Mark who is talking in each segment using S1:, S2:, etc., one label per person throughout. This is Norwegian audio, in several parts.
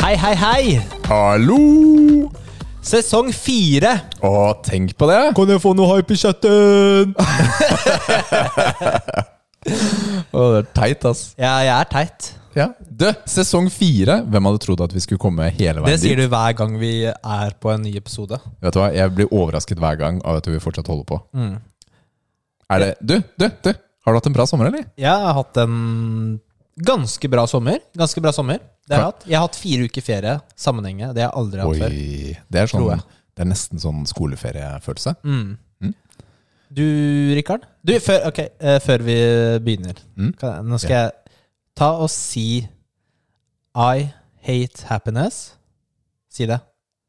S1: Hei, hei, hei!
S2: Hallo!
S1: Sesong fire.
S2: Å, tenk på det!
S1: Kan jeg få noe hype i chatten?
S2: Å, det er teit, ass.
S1: Ja, jeg er teit.
S2: Ja. Du, sesong fire. Hvem hadde trodd at vi skulle komme hele
S1: Det
S2: veien
S1: sier du hver gang vi er på en ny episode.
S2: Vet du hva, Jeg blir overrasket hver gang av at vi fortsatt holder på.
S1: Mm.
S2: Er det Du, du, du! Har du hatt en bra sommer, eller?
S1: Jeg har hatt en ganske bra sommer. Ganske bra sommer. Det har jeg
S2: Hva?
S1: hatt. Jeg har hatt fire uker ferie sammenhengende. Det har jeg aldri hatt før.
S2: Oi, det er, sånn,
S1: Tror jeg.
S2: det er nesten sånn skoleferiefølelse.
S1: Mm. Du, Rikard? Du, før, ok, eh, før vi begynner kan jeg- Nå skal jeg ta og si I hate happiness. Si det.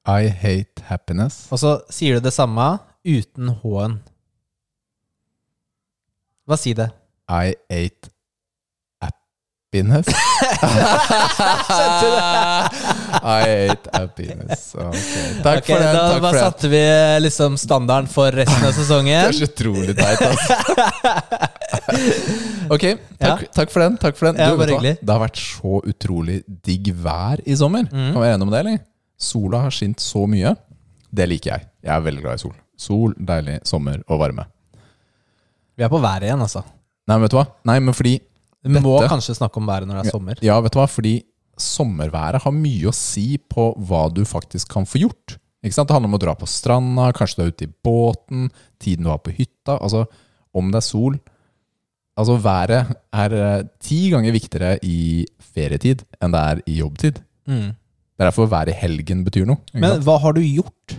S2: I hate happiness.
S1: Og så sier du det samme uten H-en. Hva sier det?
S2: I ate happiness. I ate happiness. Ok, Takk
S1: Ok,
S2: for det.
S1: da
S2: Takk
S1: bare
S2: for det.
S1: satte vi liksom standarden for resten av
S2: Det er
S1: sesongen.
S2: så utrolig teit, altså. Ok, takk,
S1: Ja.
S2: takk for den. takk for den
S1: Ja, bare
S2: vet hva?
S1: hyggelig.
S2: Det har vært så utrolig digg vær i sommer.
S1: Mhm.
S2: Kan vi være enige om det, eller? Sola har skint så mye. Det liker jeg. Jeg er veldig glad i sol. Sol, deilig, sommer og varme.
S1: Vi er på været igjen, altså.
S2: Nei, men vet du hva? Nei, men fordi
S1: Vi må
S2: Dette-
S1: kanskje snakke om været når det er sommer.
S2: Ja, vet du hva? Fordi sommerværet har mye å si på hva du faktisk kan få gjort. Ikke sant? Det handler om å dra på stranda, kanskje du er ute i båten, tiden du har på hytta. Altså, om det er sol Altså, været er eh, ti ganger viktigere i ferietid enn det er i jobbtid. Det er derfor været i helgen betyr noe. ikke
S1: Mm. Men
S2: sant?
S1: hva har du gjort?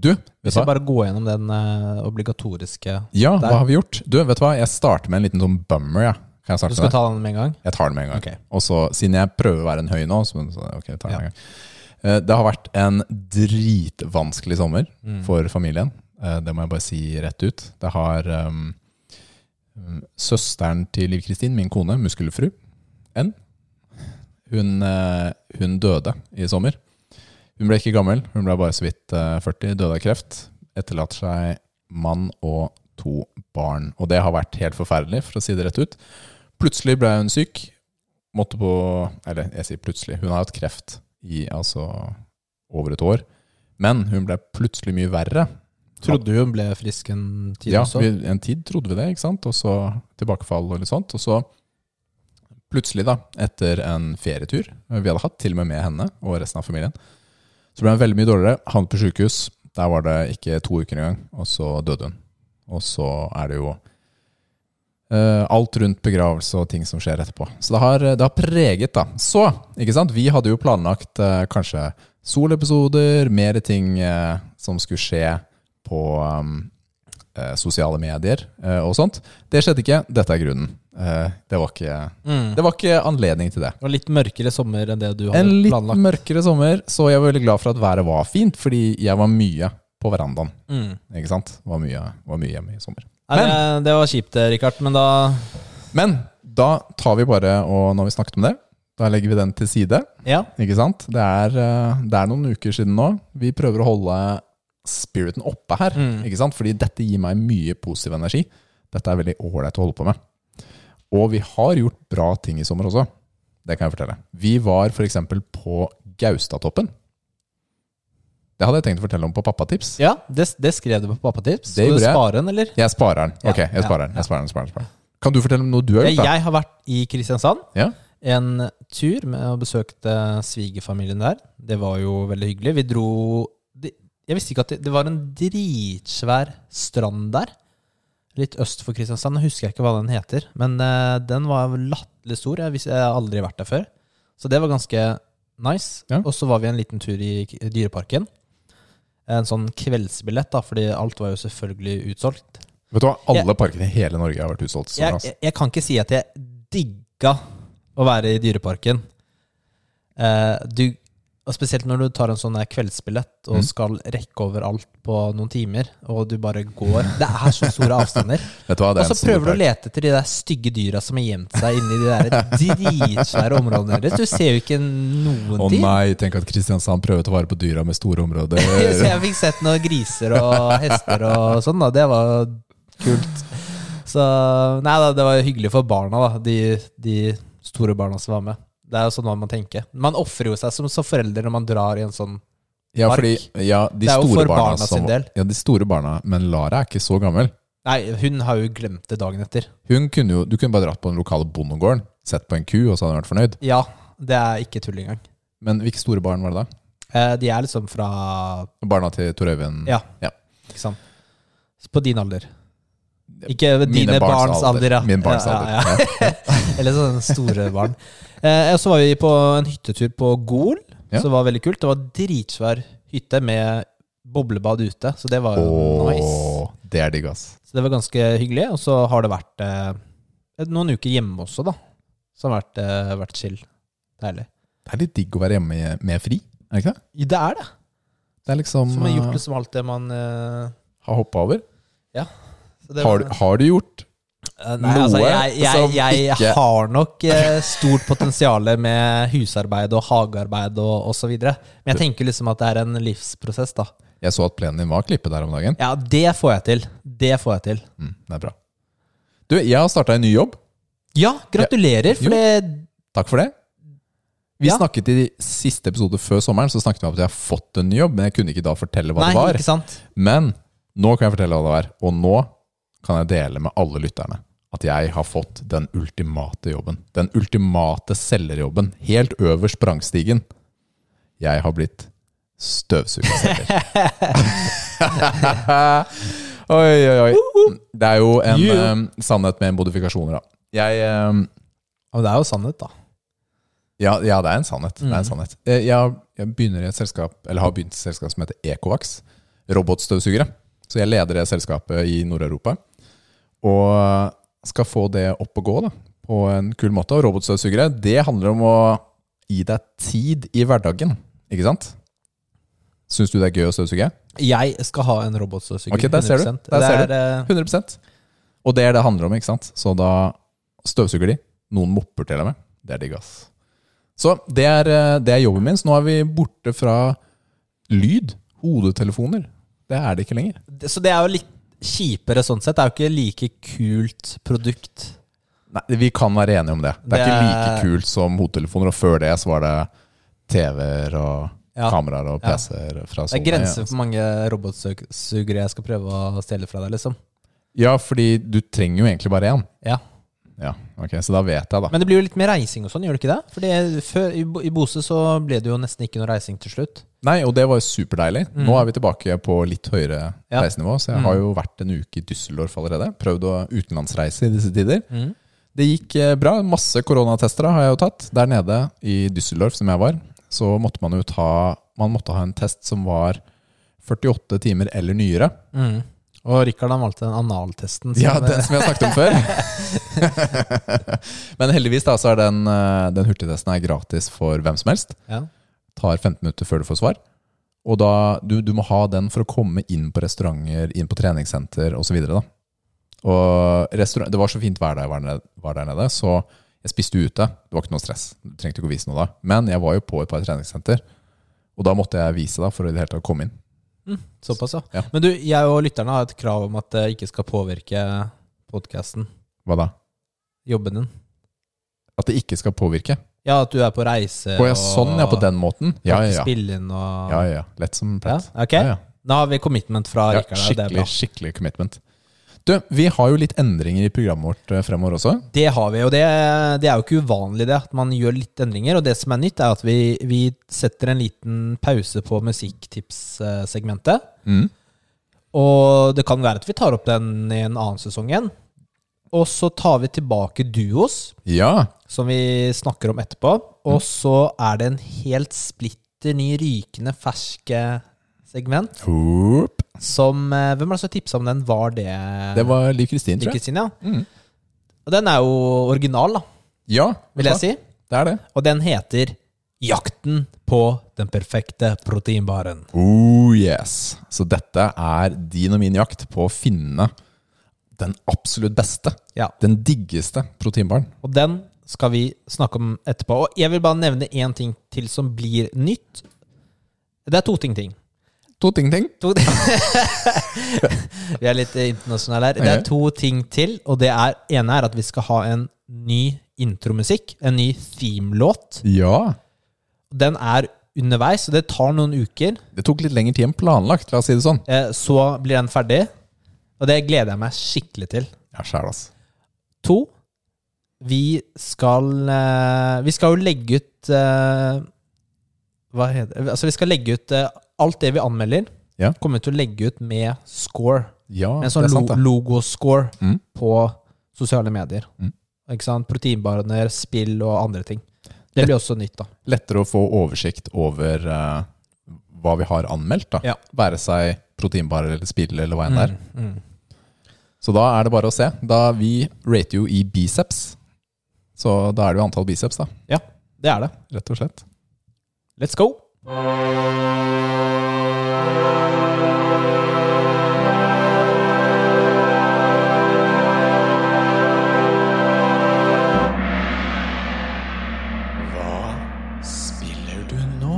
S2: du, vet
S1: Hvis
S2: du
S1: vi
S2: hva?
S1: bare går gjennom den eh, obligatoriske
S2: Ja,
S1: der.
S2: hva har vi gjort? Du, vet du hva? Jeg starter med en liten sånn bummer, ja.
S1: Du
S2: Kan jeg starte med
S1: skal
S2: det?
S1: ta den med en gang?
S2: Jeg tar den med en gang.
S1: Ok.
S2: Og så, siden jeg prøver å være en høy nå, så, så ok, jeg tar den
S1: Ja.
S2: med en gang. Eh, Det har vært en dritvanskelig sommer
S1: Mm.
S2: for familien. Eh, Det må jeg bare si rett ut. Det har um, um, søsteren til Liv Kristin, min kone, muskelfru, N. Hun, eh, hun døde i sommer. Hun ble ikke gammel, hun ble bare så vidt eh, 40, døde av kreft. Etterlater seg mann og to barn. Og det har vært helt forferdelig, for å si det rett ut. Plutselig ble hun syk. Måtte på Eller jeg sier plutselig. Hun har hatt kreft i altså over et år. Men hun ble plutselig mye verre.
S1: Trodde du hun ble frisk en tid
S2: Ja,
S1: også?
S2: vi, en tid trodde vi det, ikke sant? Og så tilbakefall og litt sånt. Og så plutselig, da, etter en ferietur vi hadde hatt, til og med med henne og resten av familien, så ble hun veldig mye dårligere. Havnet på sjukehus. Der var det ikke to uker engang, og så døde hun. Og så er det jo eh, alt rundt begravelse og ting som skjer etterpå. Så det har, det har preget, da. Så, ikke sant, vi hadde jo planlagt eh, kanskje solepisoder, mer ting eh, som skulle skje på um, eh, sosiale medier eh, og sånt. Det skjedde ikke. Dette er grunnen. Eh, det, var ikke, det var ikke anledning til det.
S1: Mm. Det var litt mørkere sommer enn det du hadde
S2: En litt
S1: planlagt.
S2: mørkere sommer, så jeg var veldig glad for at været var fint, fordi jeg var mye på verandaen. Ikke sant? Var mye, var mye hjemme i sommer.
S1: Mm. Nei, det, det var kjipt, eh, Rikard, men da
S2: Men da tar vi bare, og når vi snakket om det, da legger vi den til side.
S1: Ja.
S2: Ikke sant? Det er, eh, det er noen uker siden nå. Vi prøver å holde spiriten oppe
S1: Mm.
S2: her. Ikke sant? Fordi dette gir meg mye positiv energi. Dette er veldig ålreit å holde på med. Og vi har gjort bra ting i sommer også. Det kan jeg fortelle. Vi var f.eks. på Gaustatoppen. Det hadde jeg tenkt å fortelle om på Pappatips.
S1: ja det, det skrev du på pappatips.
S2: Det
S1: Skal du
S2: gjorde jeg.
S1: spare den, eller?
S2: Jeg sparer den.
S1: Ja,
S2: Ok, jeg
S1: ja,
S2: sparer den. Jeg sparer den, sparer den, sparer den. Kan du fortelle om noe du har
S1: Jeg,
S2: gjort? da?
S1: jeg har vært i Kristiansand
S2: Ja?
S1: en tur med og besøkte svigerfamilien der. Det var jo veldig hyggelig. Vi dro det- Jeg visste ikke at det, det var en dritsvær strand der. Litt øst for Kristiansand. Jeg husker ikke hva den heter. Men eh, den var latterlig stor. Jeg, visste, jeg har aldri vært der før. Så det var ganske nice.
S2: Ja.
S1: Og så var vi en liten tur i K- Dyreparken. En sånn kveldsbillett, da, fordi alt var jo selvfølgelig utsolgt.
S2: Vet du hva, alle parkene i hele Norge har vært utsolgt. i sommer,
S1: Jeg,
S2: altså.
S1: jeg, jeg kan ikke si at jeg digga å være i Dyreparken. Eh, du, og spesielt når du tar en sånn her kveldsbillett
S2: Mm.
S1: og skal rekke over alt på noen timer, og du bare går Det er så store avstander.
S2: Vet du hva,
S1: Og
S2: det er
S1: så
S2: en stor
S1: prøver du å
S2: park.
S1: lete etter de der stygge dyra som har gjemt seg inni de der dritsvære områdene deres. Du ser jo ikke noen
S2: Å
S1: ting.
S2: nei, tenk at Kristiansand prøver å ta vare på dyra med store områder.
S1: Så jeg fikk sett noen griser og hester og sånn, da. Det var kult. Så Nei da, det var hyggelig for barna, da. De, de store barna som var med. Det er jo sånn man tenker. Man ofrer jo seg som, som forelder når man drar i en sånn
S2: Ja,
S1: Mark.
S2: fordi, ja, de
S1: Det er jo
S2: store
S1: for barna
S2: som-
S1: sin del.
S2: Ja, de store barna. Men Lara er ikke så gammel.
S1: Nei, hun har jo glemt det dagen etter.
S2: Hun kunne jo, du kunne bare dratt på den lokale bondegården, sett på en ku, og så hadde hun vært fornøyd.
S1: Ja, det er ikke tull engang.
S2: Men hvilke store barn var det da?
S1: Eh, de er liksom fra
S2: Barna til Tor Øyvind?
S1: Ja.
S2: Ja.
S1: Ikke sant? På din alder. Ikke dine
S2: barns
S1: barns, alder, ja.
S2: Min barns
S1: Ja, ja,
S2: alder.
S1: ja. Eller sånne store barn. Eh, og så var vi på en hyttetur på Gol,
S2: Ja.
S1: som var veldig kult. Det var dritsvær hytte med boblebad ute, så det var jo
S2: Åh,
S1: nice.
S2: Det er digg, ass.
S1: Så det var ganske hyggelig. Og så har det vært eh, noen uker hjemme også, da. Som har vært, eh, vært chill. Deilig.
S2: Det er litt digg å være hjemme i- med fri, er det ikke det?
S1: Ja, Det er det.
S2: Det er
S1: Så
S2: liksom
S1: man har
S2: eh,
S1: gjort liksom alt det man eh,
S2: Har hoppa over.
S1: så det var-
S2: Har, du- har du gjort?
S1: Eh, Nei, altså,
S2: Noe
S1: jeg, jeg,
S2: som
S1: jeg,
S2: ikke-
S1: har nok eh, stort potensial med husarbeid og hagearbeid og osv. Men jeg tenker liksom at det er en livsprosess, da.
S2: Jeg så at plenen din var klippet der om dagen.
S1: Ja, det får jeg til. Det får jeg til.
S2: Mm, det er bra. Du, jeg har starta en ny jobb.
S1: Ja, gratulerer, for
S2: Jo.
S1: det
S2: Takk for det. Vi
S1: Ja.
S2: snakket i siste episode før sommeren Så snakket vi om at jeg har fått en ny jobb, men jeg kunne ikke da fortelle hva
S1: Nei,
S2: det var.
S1: ikke sant?
S2: Men nå kan jeg fortelle hva det var, og nå kan jeg dele med alle lytterne at jeg har fått den ultimate jobben. Den ultimate selgerjobben. Helt øverst på rangstigen. Jeg har blitt støvsugerselger. oi, oi, oi. Det er jo en
S1: Yeah.
S2: em, sannhet med modifikasjoner, da. Jeg eh, em,
S1: Ja, men det er jo sannhet, da.
S2: ja, ja, det er en sannhet. Det er
S1: Mm.
S2: en sannhet. Eh, Jeg, jeg begynner i et selskap, eller har begynt i et selskap som heter Ecovax. Robotstøvsugere. Så jeg leder det selskapet i Nord-Europa. Og skal få det opp og gå da, på en kul måte. Og robotstøvsugere, det handler om å gi deg tid i hverdagen. Ikke sant? Syns du det er gøy å støvsuge?
S1: Jeg skal ha en robotstøvsuger.
S2: Ok, der ser du.
S1: 100%.
S2: Der ser
S1: det er, eh,
S2: 100 Og det er det det handler om, ikke sant? Så da støvsuger de. Noen mopper til og med. Det er digg, ass. Så det er, eh, det er jobben min. Så nå er vi borte fra lyd. Hodetelefoner. Det er det ikke lenger.
S1: eh, det- Så det er jo litt kjipere sånn sett. Det er jo ikke like kult produkt.
S2: Nei, Vi kan være enige om det. Det er
S1: Det
S2: ikke
S1: er-
S2: like kult som hodetelefoner. Og før det så var det TV-er og
S1: Ja.
S2: kameraer og
S1: Ja.
S2: PC-er fra
S1: Det er
S2: Sony.
S1: grenser for hvor mange robotstøvsugere jeg skal prøve å stjele fra deg, liksom.
S2: Ja, fordi du trenger jo egentlig bare én.
S1: Ja
S2: Ja, ok, Så da vet jeg, da.
S1: Men det blir jo litt mer reising og sånn, gjør det ikke det? Fordi før, i, Bo- I Bose så ble det jo nesten ikke noe reising til slutt.
S2: Nei, og det var jo superdeilig. Nå er vi tilbake på litt høyere
S1: Ja.
S2: reisenivå. Så jeg har jo vært en uke i Düsseldorf allerede. Prøvd å utenlandsreise i disse tider. Det gikk eh, bra. Masse koronatester da har jeg jo tatt. Der nede i Düsseldorf, som jeg var, så måtte man jo ta Man måtte ha en test som var 48 timer eller nyere.
S1: Og Rikard han valgte den analtesten.
S2: Ja, den som jeg snakket om før. Men heldigvis da, så er den, eh, den hurtigtesten er gratis for hvem som helst.
S1: ja.
S2: tar 15 minutter før du får svar. Og da, du, du må ha den for å komme inn på restauranter, inn på treningssenter osv. Og restaurant, det var så fint vær da jeg var ned- var der nede, så jeg spiste ute. Det var ikke noe stress. Du trengte ikke å vise noe da. Men jeg var jo på et par treningssenter, og da måtte jeg vise da for å i det hele tatt komme inn.
S1: Såpass, ja.
S2: Ja.
S1: Men du, jeg og lytterne har et krav om at det ikke skal påvirke podkasten,
S2: Hva da?
S1: jobben din.
S2: At det ikke skal påvirke.
S1: Ja, at du er på reise
S2: Å ja, sånn ja, på den måten. Ja,
S1: kan ikke
S2: ja, ja.
S1: Spille inn og
S2: ja, ja. Lett som
S1: Ja,
S2: plett.
S1: ok.
S2: Ja, ja.
S1: Da har vi commitment fra
S2: Ja,
S1: Rikard. og Det, er
S2: skikkelig,
S1: bra.
S2: skikkelig commitment. Du, vi har jo litt endringer i programmet vårt eh, fremover også.
S1: det har vi, og det, det er jo ikke uvanlig det, at man gjør litt endringer. Og det som er nytt, er at vi, vi setter en liten pause på musikktipssegmentet.
S2: Mm.
S1: Og det kan være at vi tar opp den i en annen sesong igjen. Og så tar vi tilbake duos,
S2: Ja,
S1: som vi snakker om etterpå. Og
S2: Mm.
S1: så er det en helt splitter ny, rykende ferske segment
S2: Hoop.
S1: som eh, Hvem er det som tipsa om den? Var det
S2: Det var Liv Kristin, tror jeg.
S1: Kristin, ja?
S2: Mm.
S1: Og den er jo original, da,
S2: Ja,
S1: vil jeg si.
S2: Det er det.
S1: Og den heter 'Jakten på den perfekte proteinbaren'.
S2: Oh yes. Så dette er din og min jakt på å finne den absolutt beste,
S1: Ja.
S2: den diggeste proteinbaren.
S1: Og den skal vi snakke om etterpå. Og jeg vil bare nevne én ting til som blir nytt. Det er to ting. ting.
S2: To ting, ting.
S1: To ting. vi er litt eh, internasjonale her. Det er to ting til, og det er, ene er at vi skal ha en ny intromusikk, en ny themelåt.
S2: Ja.
S1: Den er underveis, og det tar noen uker.
S2: Det tok litt lengre tid enn planlagt, la oss si det sånn.
S1: Eh, Så blir den ferdig, og det gleder jeg meg skikkelig til.
S2: Ja, sjæl, ass.
S1: To, vi skal eh, Vi skal jo legge ut eh, Hva heter det? Altså, vi skal legge ut eh, alt det vi anmelder.
S2: Ja.
S1: Kommer vi til å legge ut med score.
S2: Ja,
S1: En sånn
S2: det er sant,
S1: lo
S2: det.
S1: logoscore
S2: Mm.
S1: på sosiale medier.
S2: Mm.
S1: Ikke sant? Proteinbarer, spill og andre ting. Det blir også nytt, da.
S2: Lettere å få oversikt over eh, hva vi har anmeldt, da.
S1: Ja.
S2: Være seg proteinbarer eller spill eller hva enn det er.
S1: Mm. Mm.
S2: Så da er det bare å se. Da vi rater jo i biceps. Så da er det jo antall biceps, da.
S1: Ja, det er det.
S2: Rett og slett.
S1: Let's go!
S2: Hva spiller du nå?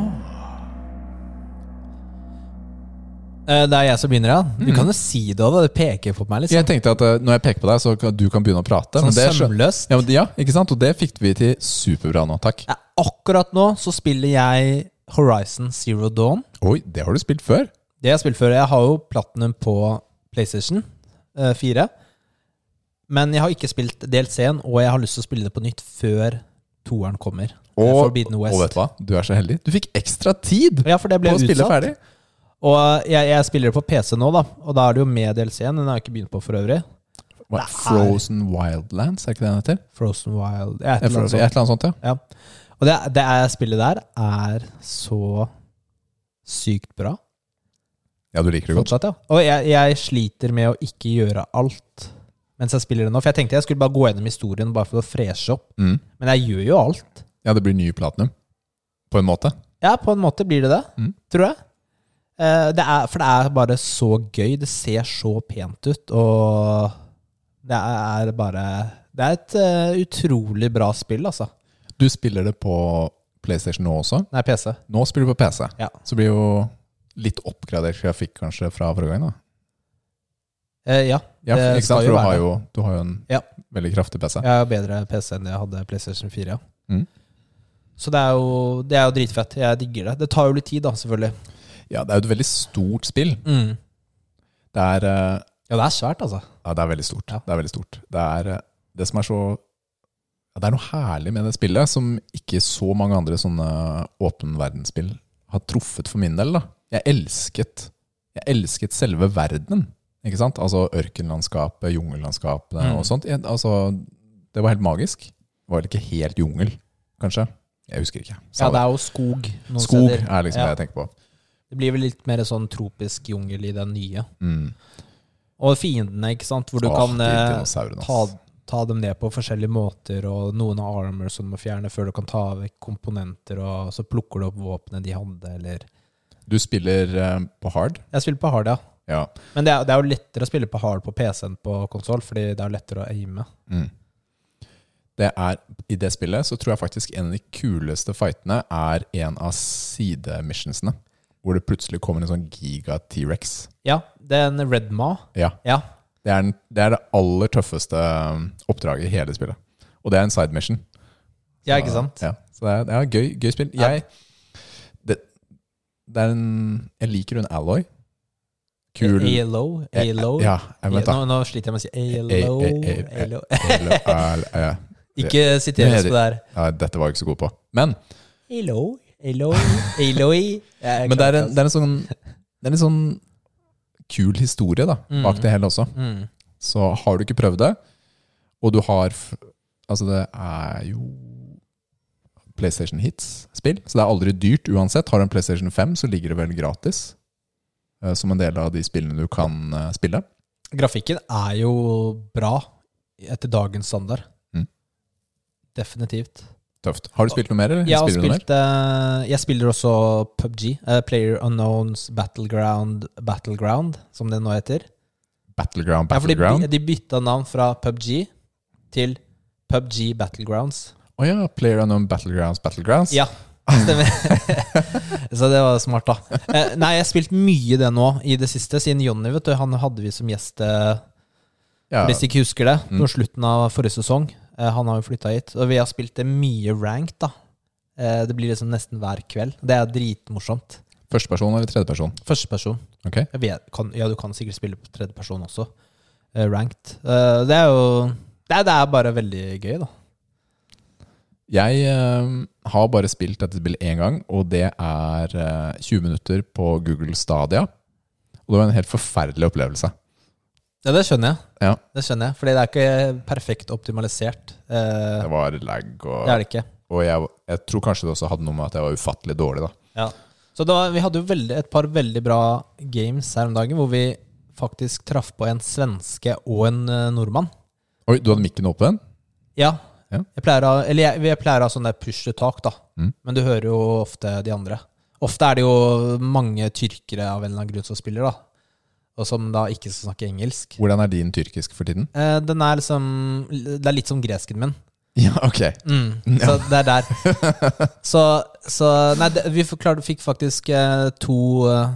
S1: Eh, Det er jeg som begynner, ja. Du kan jo si det òg, det peker på meg. liksom
S2: Jeg tenkte at eh, når jeg peker på deg, så kan du kan begynne å prate.
S1: Sånn
S2: men det skjø-
S1: sømløst.
S2: ja, men, ja, ikke sant? Og det fikk vi til superbra nå, takk.
S1: Ja, Akkurat nå så spiller jeg Horizon Zero Dawn.
S2: Oi, det har du spilt før?
S1: Det jeg har spilt før. Jeg har jo platinum på PlayStation eh, 4. Men jeg har ikke spilt DLC-en, og jeg har lyst til å spille det på nytt før toeren kommer. eh,
S2: Og,
S1: Forbidden
S2: og vet
S1: West.
S2: du hva? Du er så heldig. Du fikk ekstra tid
S1: Ja, for det ble
S2: på å spille
S1: utsatt.
S2: ferdig.
S1: Og eh, jeg, jeg spiller det på PC nå, da. Og da er det jo med DLC-en. Den har jeg ikke begynt på for øvrig.
S2: Hva,
S1: Det er-
S2: Frozen Wildlands, er ikke det den heter?
S1: Frozen Wild jeg,
S2: Et eller annet, et eller annet sånt, ja.
S1: Ja. Og det, det er, spillet der er så sykt bra.
S2: Ja, du liker det godt.
S1: Fortsatt, ja. Og jeg, jeg sliter med å ikke gjøre alt mens jeg spiller det nå. For jeg tenkte jeg skulle bare gå gjennom historien bare for å freshe opp.
S2: Mm.
S1: Men jeg gjør jo alt.
S2: Ja, det blir ny platinum. På en måte.
S1: Ja, på en måte blir det det,
S2: Mm.
S1: tror jeg. Eh, det er, for det er bare så gøy. Det ser så pent ut, og det er bare Det er et eh, utrolig bra spill, altså.
S2: Du spiller det på PlayStation nå også.
S1: Nei, PC.
S2: Nå spiller du på PC.
S1: Ja.
S2: Så blir jo litt oppgradert grafikk kanskje fra forrige gang. da.
S1: Eh, ja.
S2: Ja,
S1: Det
S2: ikke sant?
S1: skal jo
S2: For du
S1: være
S2: har
S1: det.
S2: jo, du har jo en
S1: Ja.
S2: veldig kraftig PC.
S1: Jeg har jo bedre PC enn jeg hadde PlayStation 4. ja.
S2: Mm.
S1: Så det er, jo, det er jo dritfett. Jeg digger det. Det tar jo litt tid, da, selvfølgelig.
S2: Ja, det er jo et veldig stort spill. Det er, eh,
S1: Ja, det er svært, altså.
S2: Mm. ja, det er veldig stort.
S1: Ja.
S2: Det er veldig stort. Det er eh, det som er så ja, Det er noe herlig med det spillet som ikke så mange andre sånne åpen verdensspill har truffet for min del. da. Jeg elsket jeg elsket selve verdenen. ikke sant? Altså ørkenlandskapet, jungellandskapene
S1: Mm.
S2: og sånt. Jeg, altså, Det var helt magisk. Det var vel ikke helt jungel, kanskje? Jeg husker ikke.
S1: Ja, det er jo skog noen
S2: Skog
S1: steder.
S2: er liksom
S1: Ja.
S2: det jeg tenker på.
S1: Det blir vel litt mer sånn tropisk jungel i den nye.
S2: Mm.
S1: Og fiendene, ikke sant, hvor du
S2: Åh,
S1: kan
S2: de
S1: eh,
S2: dinosaurene,
S1: ta,
S2: ass.
S1: ta dem ned på forskjellige måter, og noen har armor som du må fjerne før du kan ta vekk komponenter, og så plukker du opp våpenet de hadde, eller
S2: Du spiller eh, på hard?
S1: Jeg spiller på hard, ja.
S2: Ja.
S1: Men det er, det er jo lettere å spille på hard på PC enn på konsoll, fordi det er jo lettere å aime.
S2: Mm. Det er, I det spillet så tror jeg faktisk en av de kuleste fightene er en av sidemissionsene. Hvor det plutselig kommer en sånn giga T-rex.
S1: Ja, den Redma.
S2: Ja,
S1: Ja.
S2: det er, den, det er det aller tøffeste um, oppdraget i hele spillet. Og det er en side mission.
S1: ja, ikke sant?
S2: Ja, så det er, det er gøy, gøy spill.
S1: Ja.
S2: Jeg, det, det er en, jeg liker hun Alloy. Kul
S1: ALO. ALO.
S2: Ja, jeg vet da.
S1: nå, nå sliter jeg med å si ALO.
S2: A- A- A-
S1: ALO.
S2: Alo- al- eh,
S1: Ikke siteres på det her.
S2: Nei, dette var jeg ikke så god på. Men
S1: Hello, hello, Eloi.
S2: Men det er
S1: altså.
S2: en, det er en sånn Det er en sånn kul historie da bak
S1: Mm.
S2: det hele også.
S1: mm.
S2: Så har du ikke prøvd det, og du har f- Altså, det er jo PlayStation Hits-spill, så det er aldri dyrt uansett. Har du en PlayStation 5, så ligger det vel gratis eh, som en del av de spillene du kan eh, spille.
S1: Grafikken er jo bra etter dagens standard.
S2: Mm.
S1: Definitivt.
S2: Tøft. Har du spilt noe mer, eller?
S1: Jeg, har
S2: Spiller du noe mer?
S1: spilt, eh, jeg spiller også PubG. eh, Player Unknowns Battleground Battleground, som det nå heter.
S2: Battleground,
S1: Ja, for de,
S2: Battleground. Å ja,
S1: de bytta navn fra PubG til PubG Battlegrounds.
S2: Player Unknown Battlegrounds, Battlegrounds.
S1: Ja, stemmer. så det var smart, da. Eh, nei, jeg har spilt mye det nå i det siste, siden Jonny, vet du. Han hadde vi som gjest, eh,
S2: Ja,
S1: hvis du ikke husker det,
S2: Mm.
S1: på slutten av forrige sesong. Eh, han har jo flytta hit. Og vi har spilt det mye ranked, da. Eh, det blir liksom nesten hver kveld. Det er dritmorsomt.
S2: Førsteperson eller tredjeperson?
S1: Førsteperson.
S2: Ok.
S1: Jeg vet- kan- Ja, du kan sikkert spille på tredjeperson også. Eh, ranked. Eh, det er jo det er, det er bare veldig gøy, da.
S2: Jeg eh, har bare spilt dette spillet én gang, og det er eh, 20 minutter på Google Stadia. Og det var en helt forferdelig opplevelse.
S1: Ja, det skjønner jeg.
S2: Ja.
S1: Det skjønner jeg, Fordi det er ikke perfekt optimalisert. Eh,
S2: Det var lag,
S1: det er
S2: og,
S1: det ikke.
S2: og jeg, jeg tror kanskje det også hadde noe med at jeg var ufattelig dårlig, da.
S1: Ja. Så det var, vi hadde jo veldig, et par veldig bra games her om dagen, hvor vi faktisk traff på en svenske og en eh, nordmann.
S2: Oi, du hadde mikken åpen?
S1: Ja.
S2: Ja.
S1: Jeg pleier å, eller jeg, jeg pleier å ha sånn der push to talk, da.
S2: Mm.
S1: Men du hører jo ofte de andre. Ofte er det jo mange tyrkere av en eller annen grunn som spiller, da. Og som da ikke skal snakke engelsk.
S2: Hvordan er din tyrkisk for tiden?
S1: Eh, den er liksom Det er litt som gresken min.
S2: Ja, ok.
S1: Mm, så det er der. Så, så Nei, det, vi forklarte, fikk faktisk eh, to eh,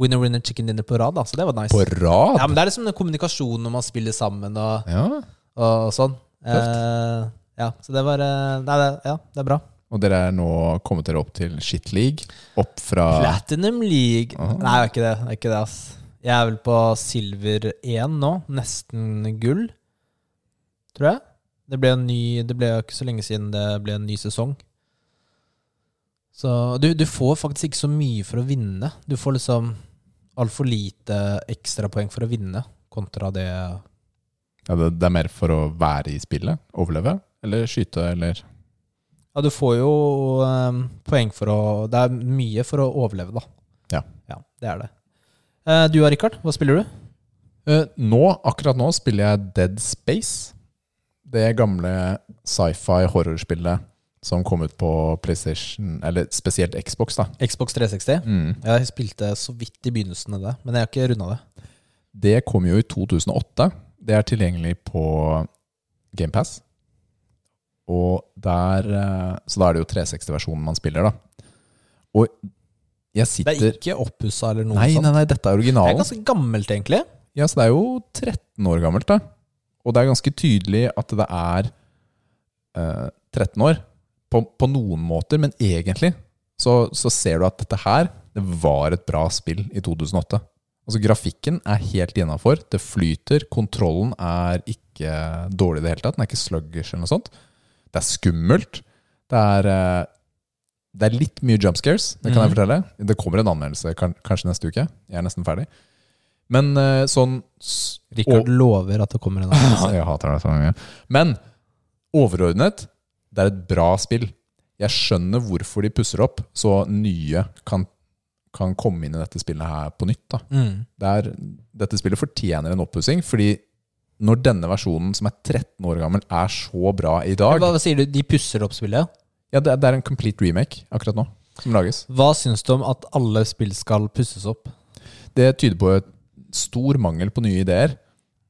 S1: winner winner chicken dinner på rad, da, så det var nice. Ja,
S2: På rad?
S1: men Det er liksom den kommunikasjonen når man spiller sammen og,
S2: Ja.
S1: og, og sånn. Eh, ja, så det var eh, Nei, det, ja, det er bra.
S2: Og dere er nå kommet dere opp til Shit League? Opp fra
S1: Platinum League
S2: Ah.
S1: Nei, det er ikke det. det, er ikke det ass. Jeg er vel på silver 1 nå. Nesten gull, tror jeg. Det ble, en ny, det ble jo ikke så lenge siden det ble en ny sesong. Så du, du får faktisk ikke så mye for å vinne. Du får liksom altfor lite ekstrapoeng for å vinne, kontra det
S2: ja, det, det er mer for å være i spillet? Overleve? Eller skyte, eller
S1: Ja, du får jo eh, poeng for å Det er mye for å overleve, da.
S2: Ja.
S1: det er det. Eh, du da, Rikard? Hva spiller du?
S2: Eh, Nå, akkurat nå, spiller jeg Dead Space. Det gamle sci-fi horrorspillet som kom ut på PlayStation, eller spesielt Xbox, da.
S1: Xbox 360?
S2: Mm.
S1: Jeg spilte så vidt i begynnelsen av det, men jeg har ikke runda det.
S2: Det kom jo i 2008. Det er tilgjengelig på GamePass. Og der eh, Så da er det jo 360-versjonen man spiller, da. Og
S1: Det er
S2: jeg sitter
S1: ikke oppussa eller noe
S2: Nei,
S1: sånt.
S2: nei, nei, dette
S1: Det
S2: er
S1: er
S2: originalen.
S1: ganske gammelt, egentlig.
S2: Ja, så det er jo 13 år gammelt, da. Og det er ganske tydelig at det er eh, 13 år på, på noen måter, men egentlig så, så ser du at dette her det var et bra spill i 2008. Altså Grafikken er helt innafor. Det flyter. Kontrollen er ikke dårlig i det hele tatt. Den er ikke sluggish eller noe sånt. Det er skummelt. Det er, eh, det er litt mye jump scares, det kan jeg
S1: Mhm.
S2: fortelle. Det kommer en anmeldelse kan, kanskje neste uke. Jeg er nesten ferdig. Men eh, sånn s-
S1: Rikard lover at det kommer en annen.
S2: jeg hater det så mye. Men overordnet, det er et bra spill. Jeg skjønner hvorfor de pusser opp, så nye kan, kan komme inn i dette spillet her på nytt. Da.
S1: Mm.
S2: Det er, dette spillet fortjener en oppussing, fordi når denne versjonen, som er 13 år gammel, er så bra i dag
S1: Hva, hva sier du? De pusser opp spillet?
S2: Ja, det, er- det er en complete remake akkurat nå, som lages.
S1: Hva syns du om at alle spill skal pusses opp?
S2: Det tyder på et stor mangel på nye ideer.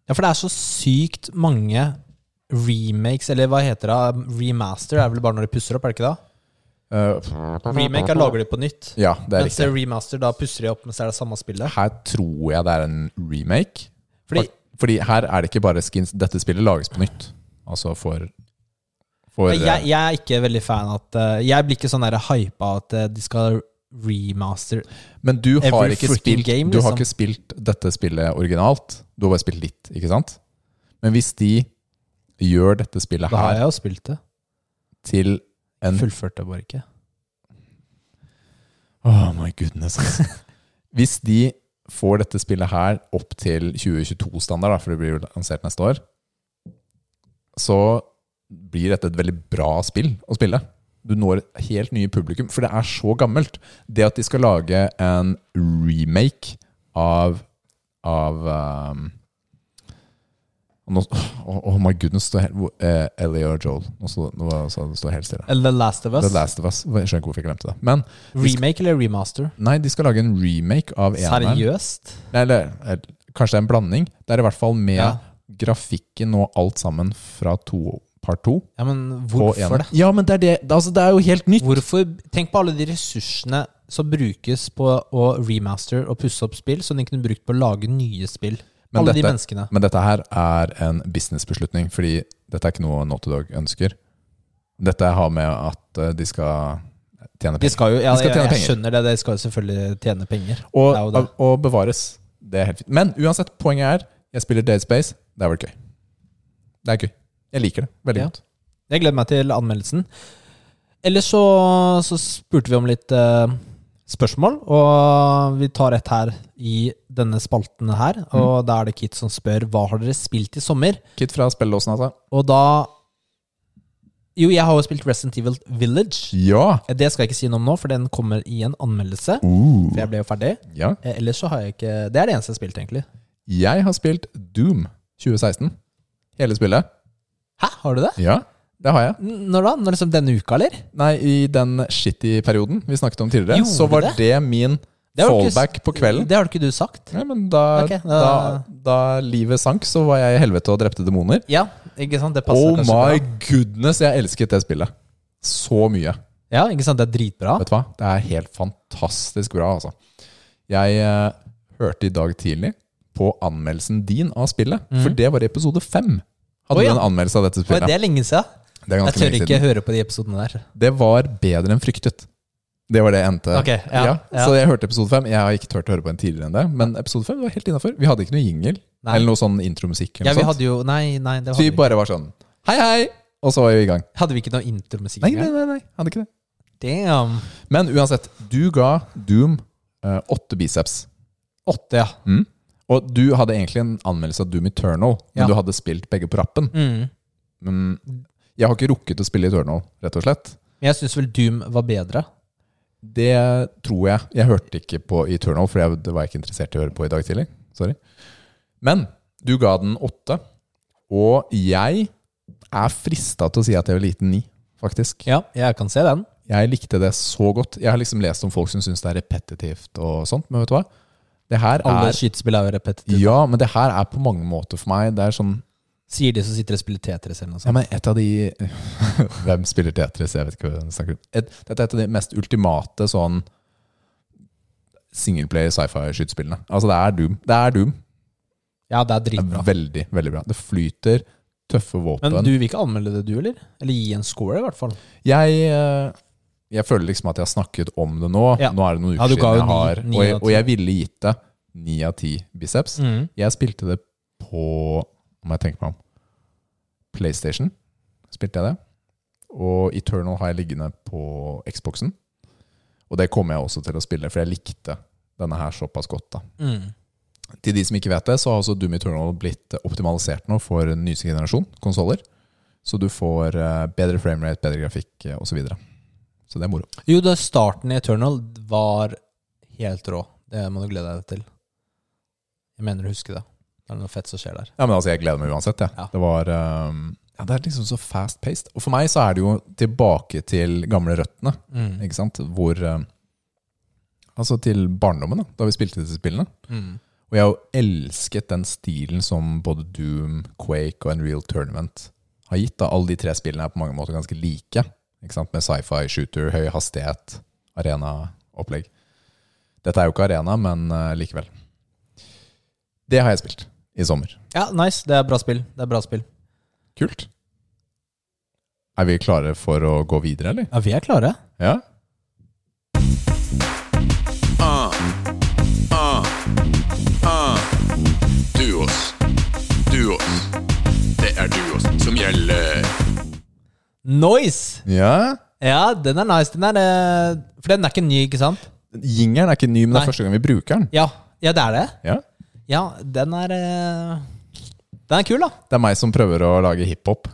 S1: Ja, for det er så sykt mange remakes, eller hva heter det? Remaster er vel bare når de pusser opp, er det ikke det?
S2: Eh,
S1: Remake er lager de på nytt.
S2: ja, det er
S1: Mens
S2: riktig.
S1: remaster, da pusser de opp, men så er det samme spillet.
S2: Her tror jeg det er en remake.
S1: Fordi-
S2: fordi her er det ikke bare skins. Dette spillet lages på nytt. Altså for, for eh,
S1: Jeg, jeg er ikke veldig fan av at eh, Jeg blir ikke sånn der hypa at eh, de skal remaster
S2: Men du har,
S1: every
S2: ikke
S1: freaking
S2: spilt,
S1: game,
S2: du har
S1: liksom.
S2: ikke spilt dette spillet originalt. Du har bare spilt litt, ikke sant? Men hvis de gjør dette spillet
S1: Da har
S2: her
S1: jeg jo spilt det.
S2: til en
S1: Fullført det bare ikke.
S2: Oh my goodness. altså. Hvis de får dette spillet her opp til 2022-standard, for det blir jo lansert neste år, så blir dette et veldig bra spill å spille. Du når et helt nye publikum, for det er så gammelt. Det at de skal lage en remake av av ehm, nå, oh, oh my goodness, det står helt, hvor- eh, Ellie og Joel. Nå står nå står det står helt stille.
S1: Eller The Last of Us.
S2: The Last of Us. Jeg skjønner ikke hvorfor jeg glemte det. Men
S1: Remake eller remaster?
S2: Nei, de skal lage en remake av eneren.
S1: Seriøst?
S2: Nei, Eller, eller kanskje det er en blanding. Det er i hvert fall med
S1: Ja.
S2: grafikken og alt sammen fra to, part to.
S1: Ja, men
S2: på
S1: hvorfor
S2: eneren.
S1: det?
S2: Ja, men det er, det, det- altså, det er jo helt nytt.
S1: Hvorfor, tenk på alle de ressursene som brukes på å remaster og pusse opp spill, som de kunne brukt på å lage nye spill.
S2: Men
S1: alle de
S2: dette-
S1: menneskene.
S2: Men dette her er en businessbeslutning, fordi Dette er ikke noe Naughty Dog ønsker. Dette har med at eh, de skal tjene
S1: De
S2: penger.
S1: skal jo, ja,
S2: De skal tjene
S1: jeg, jeg
S2: penger.
S1: skjønner det, de skal jo selvfølgelig tjene penger.
S2: Og,
S1: Det er jo det.
S2: og, bevares. Det er helt fint. Men uansett, poenget er jeg spiller Dead Space. Det er vel gøy. Det er gøy. Jeg liker det veldig
S1: Ja.
S2: godt.
S1: Jeg gleder meg til anmeldelsen. Ellers så, så spurte vi om litt eh, spørsmål, og vi tar et her i denne spalten her. Og da er det Kit som spør hva har dere spilt i sommer?
S2: Kit fra spillelåsen, altså.
S1: Og da Jo, jeg har jo spilt Resident Evil Village.
S2: Ja!
S1: Det skal jeg ikke si noe om nå, for den kommer i en anmeldelse.
S2: Uh.
S1: For jeg ble jo ferdig.
S2: ja.
S1: Eh, Ellers så har jeg ikke Det er det eneste jeg har spilt, egentlig.
S2: Jeg har spilt Doom 2016. Hele spillet.
S1: Hæ, har du det?
S2: Ja, det har jeg.
S1: N- Når da? Når liksom Denne uka, eller?
S2: Nei, i den shitty perioden vi snakket om tidligere,
S1: Gjorde
S2: så var
S1: det?
S2: det, min
S1: Det har du ikke-
S2: fallback på kvelden.
S1: Det har du ikke du sagt.
S2: Nei, men da,
S1: Ok,
S2: da...
S1: da-
S2: Da, livet sank, så var jeg i helvete og drepte demoner.
S1: Ja, ikke sant? Det passer
S2: Oh
S1: kanskje
S2: my
S1: bra.
S2: goodness, jeg elsket det spillet. Så mye.
S1: Ja, ikke sant? Det er dritbra.
S2: Vet du hva? Det er helt fantastisk bra, altså. Jeg eh, hørte i dag tidlig på anmeldelsen din av spillet, for det var i episode fem. Hadde
S1: Oi,
S2: du
S1: Mm. ja.
S2: en anmeldelse av dette
S1: Oi,
S2: spillet?
S1: det er lenge siden.
S2: Det er
S1: Jeg
S2: ganske
S1: tør
S2: lenge
S1: ikke
S2: siden.
S1: høre på de episodene der.
S2: Det var bedre enn fryktet. Det var det jeg endte
S1: Ok, ja, ja.
S2: Så jeg hørte episode fem. Jeg har ikke turt å høre på en tidligere enn det, men episode fem var helt innafor. Vi hadde ikke noe jingle
S1: Nei.
S2: eller noe sånn intromusikk.
S1: Ja,
S2: Eller
S1: vi
S2: noe sånt.
S1: hadde jo Nei, nei, det
S2: Så
S1: hadde vi
S2: vi
S1: ikke.
S2: bare var sånn hei, hei, og så var vi i gang.
S1: Hadde vi ikke noe intromusikk
S2: Nei, nei,
S1: engang?
S2: nei, nei. hadde ikke det.
S1: Damn.
S2: Men uansett, du ga Doom eh, åtte biceps.
S1: Åtte, ja.
S2: Mm. Og du hadde egentlig en anmeldelse av Doom Eternal, men
S1: Ja.
S2: du hadde spilt begge på rappen.
S1: Mm.
S2: Men jeg har ikke rukket å spille Eternal, rett og slett.
S1: Men jeg syns vel Doom var bedre.
S2: Det tror jeg. Jeg hørte ikke på Eternal, for jeg, det var jeg ikke interessert i å høre på i dag tidlig. Sorry. Men du ga den åtte, og jeg er frista til å si at jeg ville gitt den ni, faktisk.
S1: Ja, jeg kan se den.
S2: Jeg likte det så godt. Jeg har liksom lest om folk som syns det er repetitivt og sånt, men vet du hva? Det her
S1: Alle
S2: er
S1: skytespill er jo repetitive.
S2: Ja, men det her er på mange måter for meg Det er sånn
S1: Sier de som sitter og spiller Tetris eller noe
S2: Ja,
S1: sånt.
S2: men et av de Hvem spiller Tetris? Jeg vet ikke hva du snakker om. Et, dette er et av de mest ultimate sånn singleplayer sci-fi-skytespillene. Altså, det er Doom. Det er Doom.
S1: Ja, det er
S2: Det
S1: dritbra.
S2: er veldig, veldig bra. Det flyter tøffe våpen.
S1: Men du vil ikke anmelde det, du, eller? Eller gi en score, i hvert fall.
S2: Jeg, eh, jeg føler liksom at jeg har snakket om det nå.
S1: Ja.
S2: Nå er det noen
S1: Ja,
S2: uker
S1: du ga jo
S2: siden jeg har
S1: ni- ni
S2: og, jeg,
S1: av ti.
S2: og jeg ville gitt det ni av ti biceps.
S1: Mm.
S2: Jeg spilte det på Om jeg tenker meg om PlayStation spilte jeg det. Og Eternal har jeg liggende på Xboxen. Og det kommer jeg også til å spille, for jeg likte denne her såpass godt. da.
S1: Mm.
S2: Til de som ikke vet det, så har også Doom Eternal blitt optimalisert nå for den nyeste generasjon konsoller. Så du får eh, bedre framerate, bedre grafikk eh, og Så, videre. så det er moro.
S1: Jo, da starten i Eternal var helt rå. Det må du glede deg til. Jeg mener du husker det. Det er noe fett som skjer der.
S2: Ja, men altså, jeg gleder meg uansett. Ja.
S1: Ja.
S2: Det var ehm, ja, det er liksom så fast-paced. Og for meg så er det jo tilbake til gamle røttene,
S1: Mm.
S2: ikke sant? Hvor ehm, Altså til barndommen, da, da vi spilte disse spillene.
S1: Mm.
S2: Og jeg har jo elsket den stilen som både Doom, Quake og Unreal Tournament har gitt. da. Alle de tre spillene er på mange måter ganske like. Ikke sant? Med sci-fi, shooter, høy hastighet, arena-opplegg. Dette er jo ikke arena, men eh, likevel. Det har jeg spilt i sommer.
S1: Ja, nice. Det er bra spill. Det er bra spill.
S2: Kult. Er vi klare for å gå videre, eller?
S1: Ja, vi er klare.
S2: Ja.
S3: Duos. Duos. Det er duos som gjelder.
S1: Nice!
S2: ja.
S1: Ja, den er nice. Den er, eh, for den er ikke ny, ikke sant?
S2: Jingeren er ikke ny, men det
S1: Nei.
S2: er første gang vi bruker den.
S1: Ja, ja det er det.
S2: Ja.
S1: Ja, den er eh, Den er kul, da.
S2: Det er meg som prøver å lage hiphop.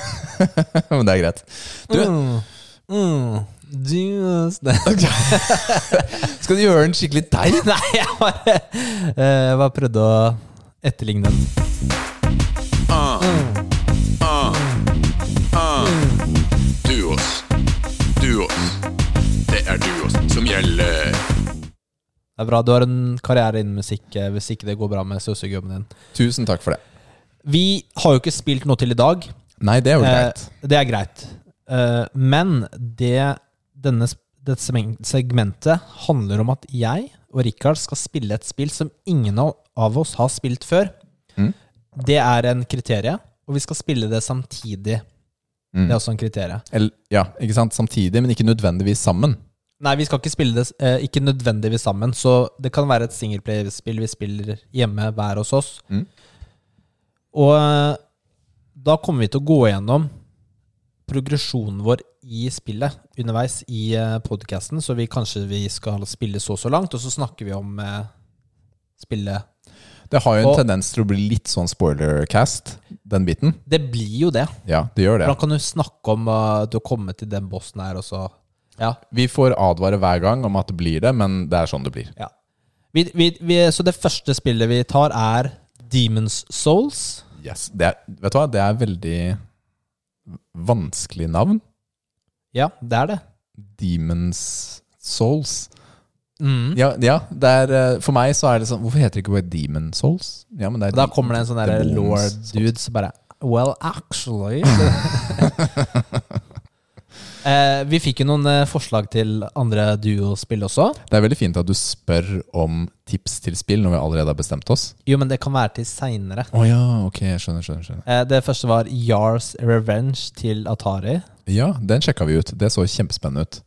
S2: men det er greit. Du,
S1: Mm. Mm. Juice.
S2: skal du gjøre den skikkelig deg?
S1: Nei, jeg bare, eh, jeg bare prøvde å etterligne den.
S3: Duos. Duos. Det er duos som gjelder.
S1: Det er bra. Du har en karriere innen musikk eh, hvis ikke det går bra med sosiogjobben din.
S2: Tusen takk for det.
S1: Vi har jo ikke spilt noe til i dag.
S2: Nei, det er jo
S1: Eh,
S2: greit.
S1: det er greit. Eh, men det denne, sp- dette semen- segmentet handler om at jeg og Rikard skal spille
S2: Mm.
S1: et spill som ingen av- av oss har spilt før. Det er en kriterie, og Og vi skal spille det samtidig.
S2: Mm.
S1: Det er også en kriterie.
S2: Eller, ja, ikke sant? Samtidig, men ikke nødvendigvis sammen.
S1: Nei, vi skal ikke spille det eh, Ikke nødvendigvis sammen. Så det kan være et singleplayerspill vi spiller hjemme hver hos oss.
S2: Mm.
S1: Og eh, da kommer vi til å gå gjennom progresjonen vår i spillet underveis i podkasten, så vi kanskje vi skal spille så og så langt, og så snakker vi om eh, spillet
S2: Det har jo en
S1: Og-
S2: tendens til å bli litt sånn spoiler-cast, den biten.
S1: Det blir jo det.
S2: Ja, det gjør det.
S1: Hvordan kan du snakke om uh, du har kommet til den bossen her, og så Ja.
S2: Vi får advare hver gang om at det blir det, men det er sånn det blir.
S1: ja. Vi, vi, vi, så det første spillet vi tar, er Demons Souls.
S2: Yes. Det er, vet du hva, det er veldig vanskelig navn.
S1: Ja, det er det.
S2: Demons Souls. Ja, ja det er, eh, for meg så er det sånn Hvorfor heter det ikke bare Demon Souls? Ja, men det er
S1: Og da kommer det en sånn der
S2: Demons
S1: lord
S2: Souls.
S1: dude som bare Well, actually Eh, Vi fikk jo noen eh, forslag til andre duospill også.
S2: Det er veldig fint at du spør om tips til spill når vi allerede har bestemt oss.
S1: Jo, men det kan være til seinere.
S2: Å ja, ok, jeg skjønner, skjønner, skjønner.
S1: Eh, det første var Yars Revenge til Atari.
S2: Ja, den sjekka vi ut. Det så kjempespennende ut.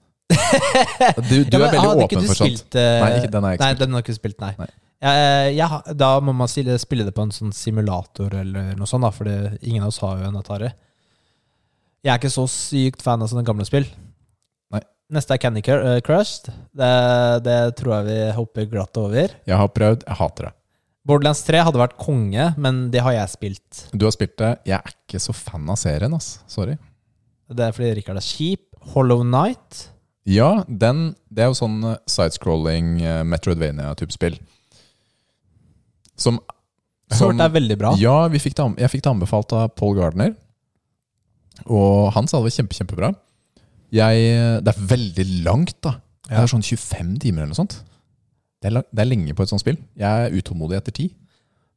S2: Du, du
S1: Ja, men
S2: er veldig
S1: hadde ikke
S2: åpen
S1: du
S2: for sånt.
S1: spilt, eh,
S2: Nei, ikke, den har jeg ikke
S1: Nei,
S2: spilt.
S1: den har ikke spilt, nei.
S2: Nei.
S1: Eh, jeg har- da må man spille, spille det på en sånn simulator eller noe sånt, da, for det- ingen av oss har jo en Atari. Jeg er ikke så sykt fan av sånne gamle spill.
S2: Nei.
S1: Neste er Candy Cur- eh, Crush. Det, det tror jeg vi hopper glatt over.
S2: Jeg har prøvd, jeg hater det.
S1: Borderlands 3 hadde vært konge, men det har jeg spilt.
S2: Du har spilt det. Jeg er ikke så fan av serien, ass. Sorry.
S1: Det er fordi Rikard er kjip. Hollow Night.
S2: Ja, den Det er jo sånn eh, sidescrolling, eh, Metroidvania-type spill. Som,
S1: Som, det er veldig bra.
S2: Ja, vi fikk det, an- jeg fikk det anbefalt av Paul Gardner. Og han sa det var kjempe, kjempebra. Jeg, det er veldig langt, da. Det
S1: Ja.
S2: er sånn 25 timer eller noe sånt. Det er, lang, det er lenge på et sånt spill. Jeg er utålmodig etter tid.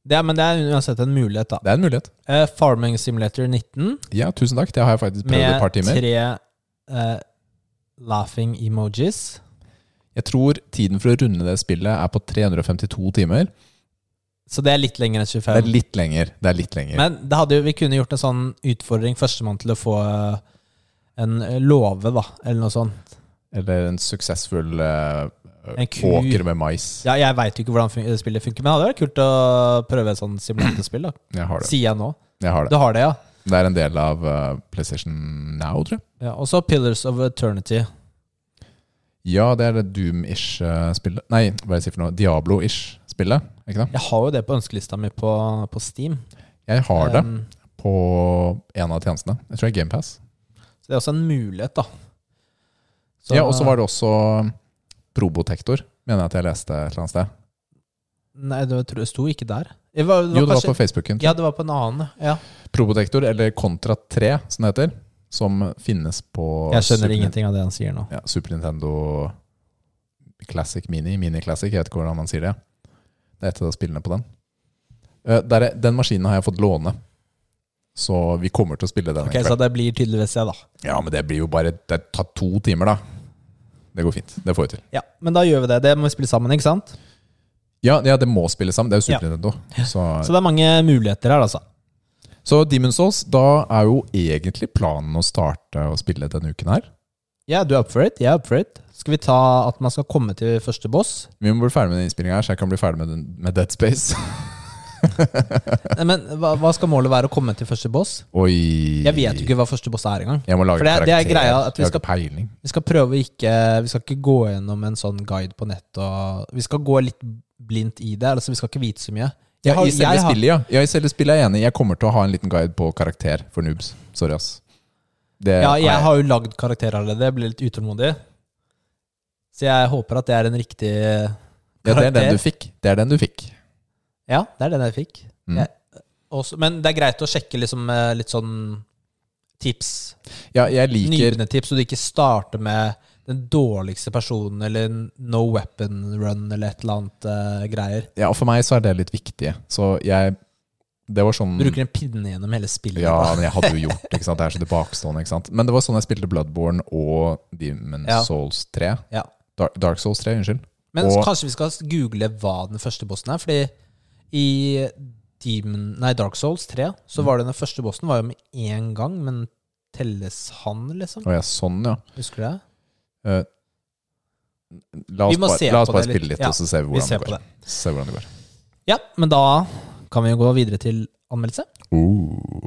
S1: Det er, men det er uansett en mulighet, da.
S2: Det er en mulighet.
S1: Eh, Farming Simulator 19.
S2: Ja, tusen takk. Det har jeg faktisk prøvd et
S1: Med
S2: par timer.
S1: tre eh, laughing emojis.
S2: Jeg tror tiden for å runde det spillet er på 352 timer.
S1: Så det er litt lenger enn 25.
S2: Det er litt lenger. Det er litt lenger.
S1: Men det hadde jo, vi kunne gjort en sånn utfordring førstemann til å få eh, en låve, da, eller noe sånt.
S2: Eller en suksessfull eh,
S1: En ku.
S2: åker med mais.
S1: Ja, jeg veit jo ikke hvordan fun spillet funker, men det hadde vært kult å prøve et sånt simulatorspill, da.
S2: Jeg har det.
S1: Sier jeg nå.
S2: Jeg har
S1: Du
S2: det.
S1: har det, ja.
S2: det er en del av eh, PlayStation Now, tror jeg.
S1: ja Og så Pillars of Eternity.
S2: Ja, det er det Doom-ish eh, spillet. Nei, hva er det jeg sier for noe? Diablo-ish spillet. Ikke det?
S1: Jeg har jo det på ønskelista mi på, på Steam.
S2: Jeg har det
S1: Um,
S2: på en av tjenestene. Jeg tror det er GamePass.
S1: så det er også en mulighet, da. Så-
S2: Ja, og så var det også Probotector, mener jeg at jeg leste et eller annet sted.
S1: Nei, det var- sto ikke der. Det var, det var
S2: Jo, det var
S1: kanskje-
S2: på Facebooken.
S1: Ja, det var på en annen. Ja.
S2: Probotector, eller Contra 3, som det heter, som finnes på
S1: Jeg skjønner
S2: Super-
S1: ingenting av det han sier nå.
S2: Ja, Super Nintendo Classic Mini, Mini Classic, jeg vet ikke hvordan man sier det. Det er et av spillene på den. Eh, der er, den maskinen har jeg fått låne, så vi kommer til å spille den. en
S1: Ok, Så det blir tydeligvis jeg, da.
S2: Ja, men det blir jo bare Det tar to timer, da. Det går fint. Det får vi til.
S1: Ja, Men da gjør vi det. Det må vi spille sammen, ikke sant?
S2: Ja, ja det må spilles sammen. Det er jo Super
S1: Ja.
S2: Nintendo. Så,
S1: Så det er mange muligheter her, altså.
S2: så Demon's Souls, da er jo egentlig planen å starte å spille denne uken her.
S1: Ja, du er up for it. Jeg er up for it. Skal vi ta at man skal komme til første boss?
S2: Vi må bli ferdig med den innspillinga her, så jeg kan bli ferdig med, den, med Dead Space.
S1: Nei, Men hva, hva skal målet være å komme til første boss?
S2: Oi
S1: Jeg vet jo ikke hva første boss er engang.
S2: Jeg må lage
S1: For det er- det er greia at vi skal-
S2: Jeg har ikke peiling.
S1: Vi skal prøve å ikke Vi skal ikke gå gjennom en sånn guide på nett og Vi skal gå litt blindt i det. Altså, vi skal ikke vite så mye. Jeg
S2: Ja,
S1: har-
S2: I selve
S1: jeg har-
S2: spillet, ja. ja. I selve spillet er jeg enig. Jeg kommer til å ha en liten guide på karakter for noobs. Sorry, ass. Det
S1: Ja,
S2: har jeg-
S1: jeg har jo lagd karakter allerede. Jeg blir litt utålmodig. Så jeg håper at det er en riktig eh,
S2: ja, det er den du
S1: karakter.
S2: fikk. Det er den du fikk.
S1: Ja, det er den jeg fikk.
S2: Mm.
S1: Jeg, også, men det er greit å sjekke liksom, eh, litt sånn tips.
S2: Ja, jeg liker
S1: Nyvende tips, så du ikke starter med den dårligste personen eller en no weapon run eller et eller annet eh, greier.
S2: Ja, og for meg så er det litt viktig. Så jeg Det var sånn
S1: Bruker en pinne gjennom hele spillet.
S2: Ja,
S1: da.
S2: men jeg hadde jo gjort det. ikke sant? Det er så tilbakestående. ikke sant? Men det var sånn jeg spilte Bloodborne og Demon
S1: Ja.
S2: Souls 3.
S1: Ja.
S2: Dark, Dark Souls 3, unnskyld.
S1: Men
S2: Og-
S1: kanskje vi skal google hva den første bossen er, fordi i Demon, nei, Dark Souls 3, så var det den første bossen var jo med én gang, men telles han, liksom?
S2: Å ja, sånn, ja.
S1: Husker du det?
S2: Eh, la
S1: Vi
S2: oss
S1: må
S2: bare,
S1: se
S2: la oss
S1: på
S2: bare
S1: det
S2: spille
S1: litt.
S2: litt,
S1: Ja,
S2: og så ser vi
S1: Vi
S2: hvordan
S1: ser
S2: det
S1: på
S2: går.
S1: det.
S2: Se hvordan det går.
S1: Ja, men da kan vi jo gå videre til anmeldelse.
S2: Uh.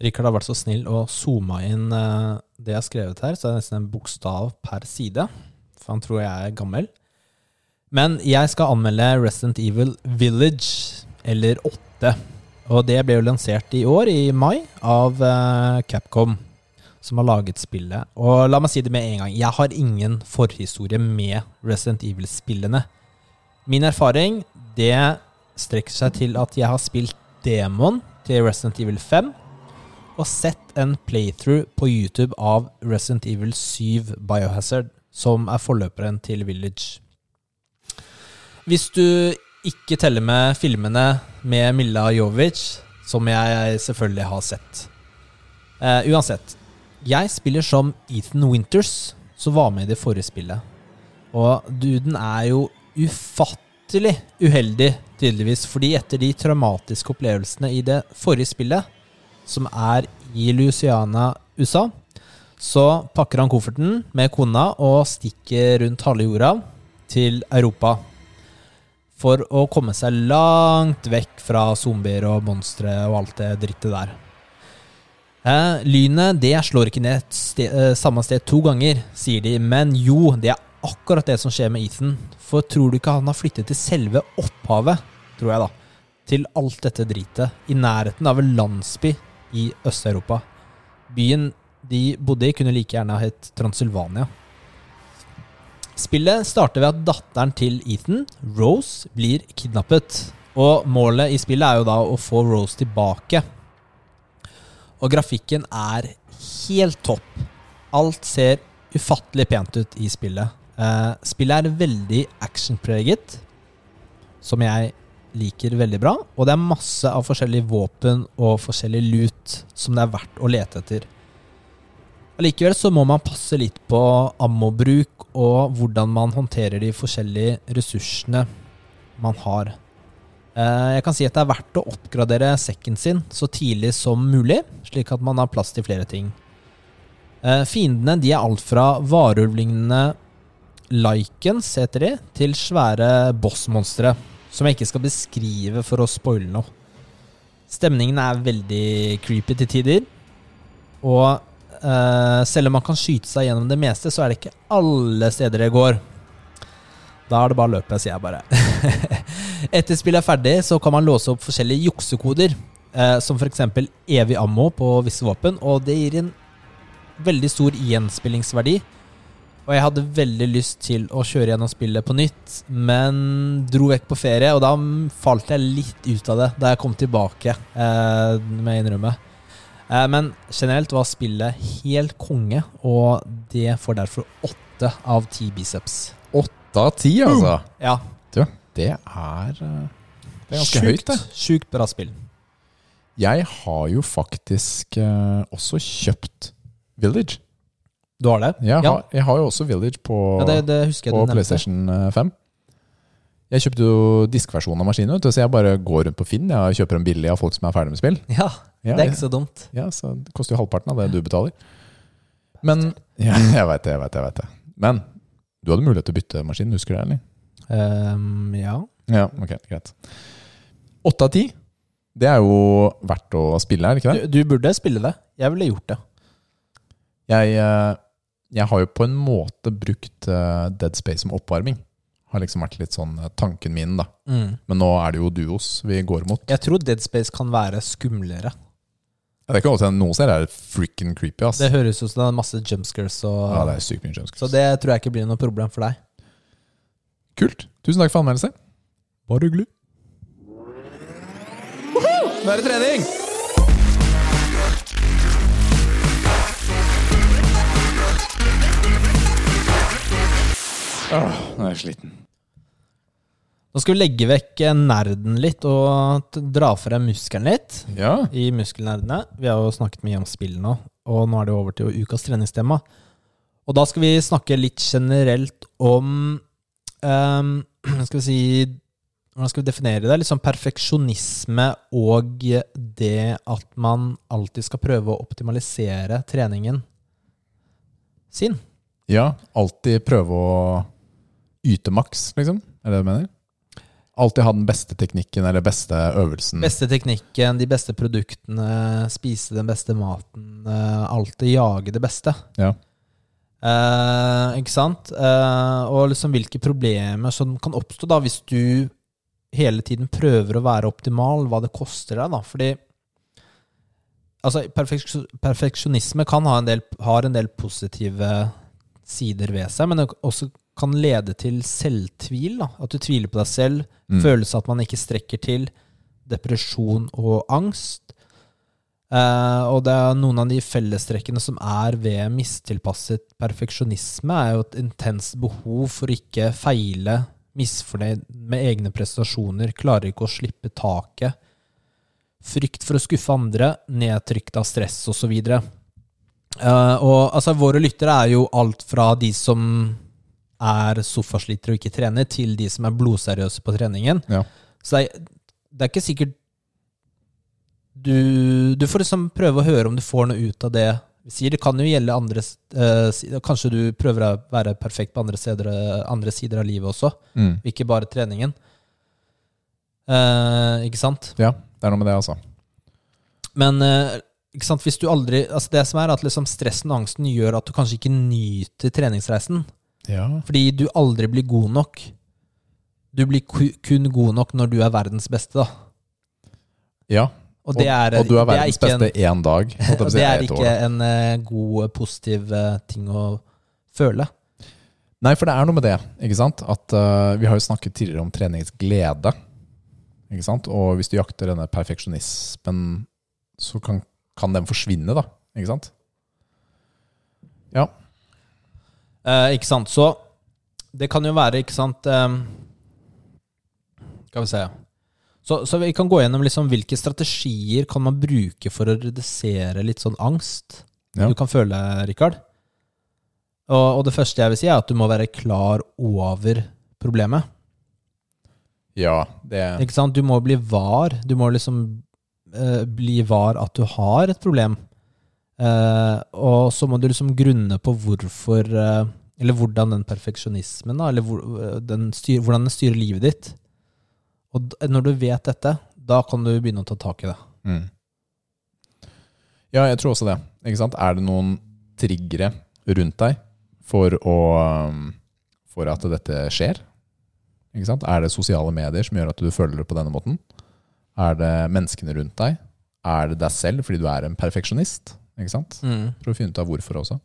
S1: Rikard har vært så snill og zooma inn eh, det jeg har skrevet her, så det er nesten en bokstav per side. For han tror jeg er gammel. Men jeg skal anmelde Resident Evil Village, eller 8. Og det ble jo lansert i år, i mai, av eh, Capcom, som har laget spillet. Og la meg si det med en gang, jeg har ingen forhistorie med Resident Evil-spillene. Min erfaring, det strekker seg til at jeg har spilt demon til Resident Evil 5 og sett en playthrough på YouTube av Resident Evil 7 Biohazard, som er forløperen til Village. Hvis du ikke teller med filmene med Milla Jovic, som jeg selvfølgelig har sett. Eh, uansett, jeg spiller som Ethan Winters, som var med i det forrige spillet. Og duden er jo ufattelig uheldig, tydeligvis, fordi etter de traumatiske opplevelsene i det forrige spillet, som er i Louisiana, USA. Så pakker han kofferten med kona og stikker rundt halve jorda til Europa. For å komme seg langt vekk fra zombier og monstre og alt det drittet der. Eh, lynet det slår ikke ned et ste eh, samme sted to ganger, sier de. Men jo, det er akkurat det som skjer med Ethan. For tror du ikke han har flyttet til selve opphavet? Tror jeg, da til alt dette dritet i nærheten av en landsby i Øst-Europa. Byen de bodde i, kunne like gjerne ha hett Transylvania. Spillet starter ved at datteren til Ethan, Rose, blir kidnappet. Og målet i spillet er jo da å få Rose tilbake. Og grafikken er helt topp. Alt ser ufattelig pent ut i spillet. Eh, spillet er veldig actionpreget, som jeg liker veldig bra. Og det er masse av forskjellige våpen og forskjellig lut som det er verdt å lete etter. Allikevel så må man passe litt på ammobruk og hvordan man håndterer de forskjellige ressursene man har. Eh, Jeg kan si at det er verdt å oppgradere sekken sin så tidlig som mulig, slik at man har plass til flere ting. Eh, Fiendene de er alt fra varulvlignende Lycans, heter de, til svære bossmonstre som jeg ikke skal beskrive for å spoile noe. Stemningen er veldig creepy til tider. Og eh, selv om man kan skyte seg gjennom det meste, så er det ikke alle steder det går. Da er det bare løpet, sier jeg bare. Etter spillet er ferdig, så kan man låse opp forskjellige juksekoder. Eh, som f.eks. evig ammo på visse våpen, og det gir en veldig stor gjenspillingsverdi. Og jeg hadde veldig lyst til å kjøre gjennom spillet på nytt, men dro vekk på ferie, og da falt jeg litt ut av det da jeg kom tilbake, eh, må jeg innrømme. Eh, men generelt var spillet helt konge, og det får derfor åtte av ti biceps.
S2: Åtte av ti, altså.
S1: Ja,
S2: Du, det er eh, Det er ganske høyt, det.
S1: Sjukt bra spill.
S2: Jeg har jo faktisk eh, også kjøpt Village.
S1: Du har det?
S2: Jeg,
S1: Ja.
S2: har, jeg har jo også Village på,
S1: Ja, det, det husker jeg
S2: på
S1: du nevnte.
S2: PlayStation eh, 5. Jeg kjøpte jo diskversjonen av maskinen, vet du, så jeg bare går rundt på Finn jeg kjøper en billig av folk som er ferdig med spill.
S1: Ja,
S2: Ja,
S1: det er ikke så dumt.
S2: Ja, så det koster jo halvparten av det du betaler. Men ja, Jeg veit det, jeg veit det. jeg vet det. Men du hadde mulighet til å bytte maskin, husker du det? eller?
S1: Ehm, ja.
S2: Ja, ok, greit. Åtte av ti. Det er jo verdt å spille, er det ikke
S1: Du,
S2: det?
S1: du burde spille det. Jeg ville gjort det.
S2: Jeg, eh, jeg har jo på en måte brukt eh, Dead Space som oppvarming. Har liksom vært litt sånn eh, tanken min, da. Men nå er det jo duos vi går mot.
S1: Jeg tror Dead Space kan være skumlere.
S2: Ja, det kan godt hende noen ser er freaking creepy, ass.
S1: Det høres ut som det er masse jumpscares og
S2: ja, det er sykt mye jumpscares.
S1: Så det tror jeg ikke blir noe problem for deg.
S2: Kult. Tusen takk for anmeldelse. Bare hyggelig. Nå er det trening! Nå er jeg sliten.
S1: Nå skal vi legge vekk eh, nerden litt og t- dra frem muskelen litt.
S2: Ja.
S1: I Muskelnerdene. Vi har jo snakket mye om spill nå, og nå er det jo over til ukas treningstema. Og da skal vi snakke litt generelt om ehm, Skal vi si Hvordan skal vi definere det? Liksom perfeksjonisme og det at man alltid skal prøve å optimalisere treningen sin.
S2: ja. Alltid prøve å yte maks, liksom. Er det det du mener? Alltid ha den beste teknikken eller beste øvelsen.
S1: Beste teknikken, de beste produktene, spise den beste maten, eh, alltid jage det beste.
S2: Ja.
S1: Eh, ikke sant? Eh, og liksom hvilke problemer som kan oppstå da hvis du hele tiden prøver å være optimal, hva det koster deg, da. Fordi altså, perfeksjon- perfeksjonisme kan ha en del, har en del positive sider ved seg, men det også kan lede til selvtvil. Da. At du tviler på deg selv,
S2: Mm.
S1: følelse at man ikke strekker til, depresjon og angst. Eh, og det er noen av de fellestrekkene som er ved mistilpasset perfeksjonisme, er jo et intenst behov for å ikke feile, misfornøyd med egne prestasjoner, klarer ikke å slippe taket, frykt for å skuffe andre, nedtrykt av stress osv. Uh, og altså, våre lyttere er jo alt fra de som er sofasliter og ikke trener, til de som er blodseriøse på treningen.
S2: Ja.
S1: Så det er, det er ikke sikkert du, du får liksom prøve å høre om du får noe ut av det vi sier. Det kan jo gjelde andre eh, si- Kanskje du prøver å være perfekt på andre sider, andre sider av livet også,
S2: Mm.
S1: ikke bare treningen. Eh, ikke sant?
S2: ja. Det er noe med det, altså.
S1: Men eh, ikke sant? hvis du aldri altså Det som er at liksom stressen og angsten gjør at du kanskje ikke nyter treningsreisen.
S2: Ja.
S1: Fordi du aldri blir god nok. Du blir ku- kun god nok når du er verdens beste, da.
S2: ja.
S1: Og, det er,
S2: og du er
S1: det er
S2: verdens
S1: ikke en-
S2: beste én dag. holdt jeg på å
S1: Og
S2: si,
S1: Altså, det er
S2: et år,
S1: ikke en eh, god, positiv eh, ting å føle.
S2: Nei, for det er noe med det, ikke sant? At eh, vi har jo snakket tidligere om treningsglede, ikke sant? Og hvis du jakter denne perfeksjonismen, så kan, kan den forsvinne da, ikke sant? Ja,
S1: Eh, ikke sant? Så det kan jo være, ikke sant ehm, Skal vi se. Så, så vi kan gå gjennom liksom hvilke strategier kan man bruke for å redusere litt sånn angst
S2: Ja.
S1: du kan føle, Rikard. Og, og det første jeg vil si, er at du må være klar over problemet.
S2: ja det,
S1: Ikke sant? Du må bli var. Du må liksom eh, bli var at du har et problem. Eh, og så må du liksom grunne på hvorfor eh, Eller hvordan den perfeksjonismen, da, eller hvor, eh, den styr, hvordan den styrer livet ditt. Og d når du vet dette, da kan du begynne å ta tak i det.
S2: Mm. Ja, jeg tror også det. Ikke sant? Er det noen triggere rundt deg for, å, um, for at dette skjer? Ikke sant? Er det sosiale medier som gjør at du føler det på denne måten? Er det menneskene rundt deg? Er det deg selv fordi du er en perfeksjonist? Ikke sant? Prøv å finne ut av hvorfor også.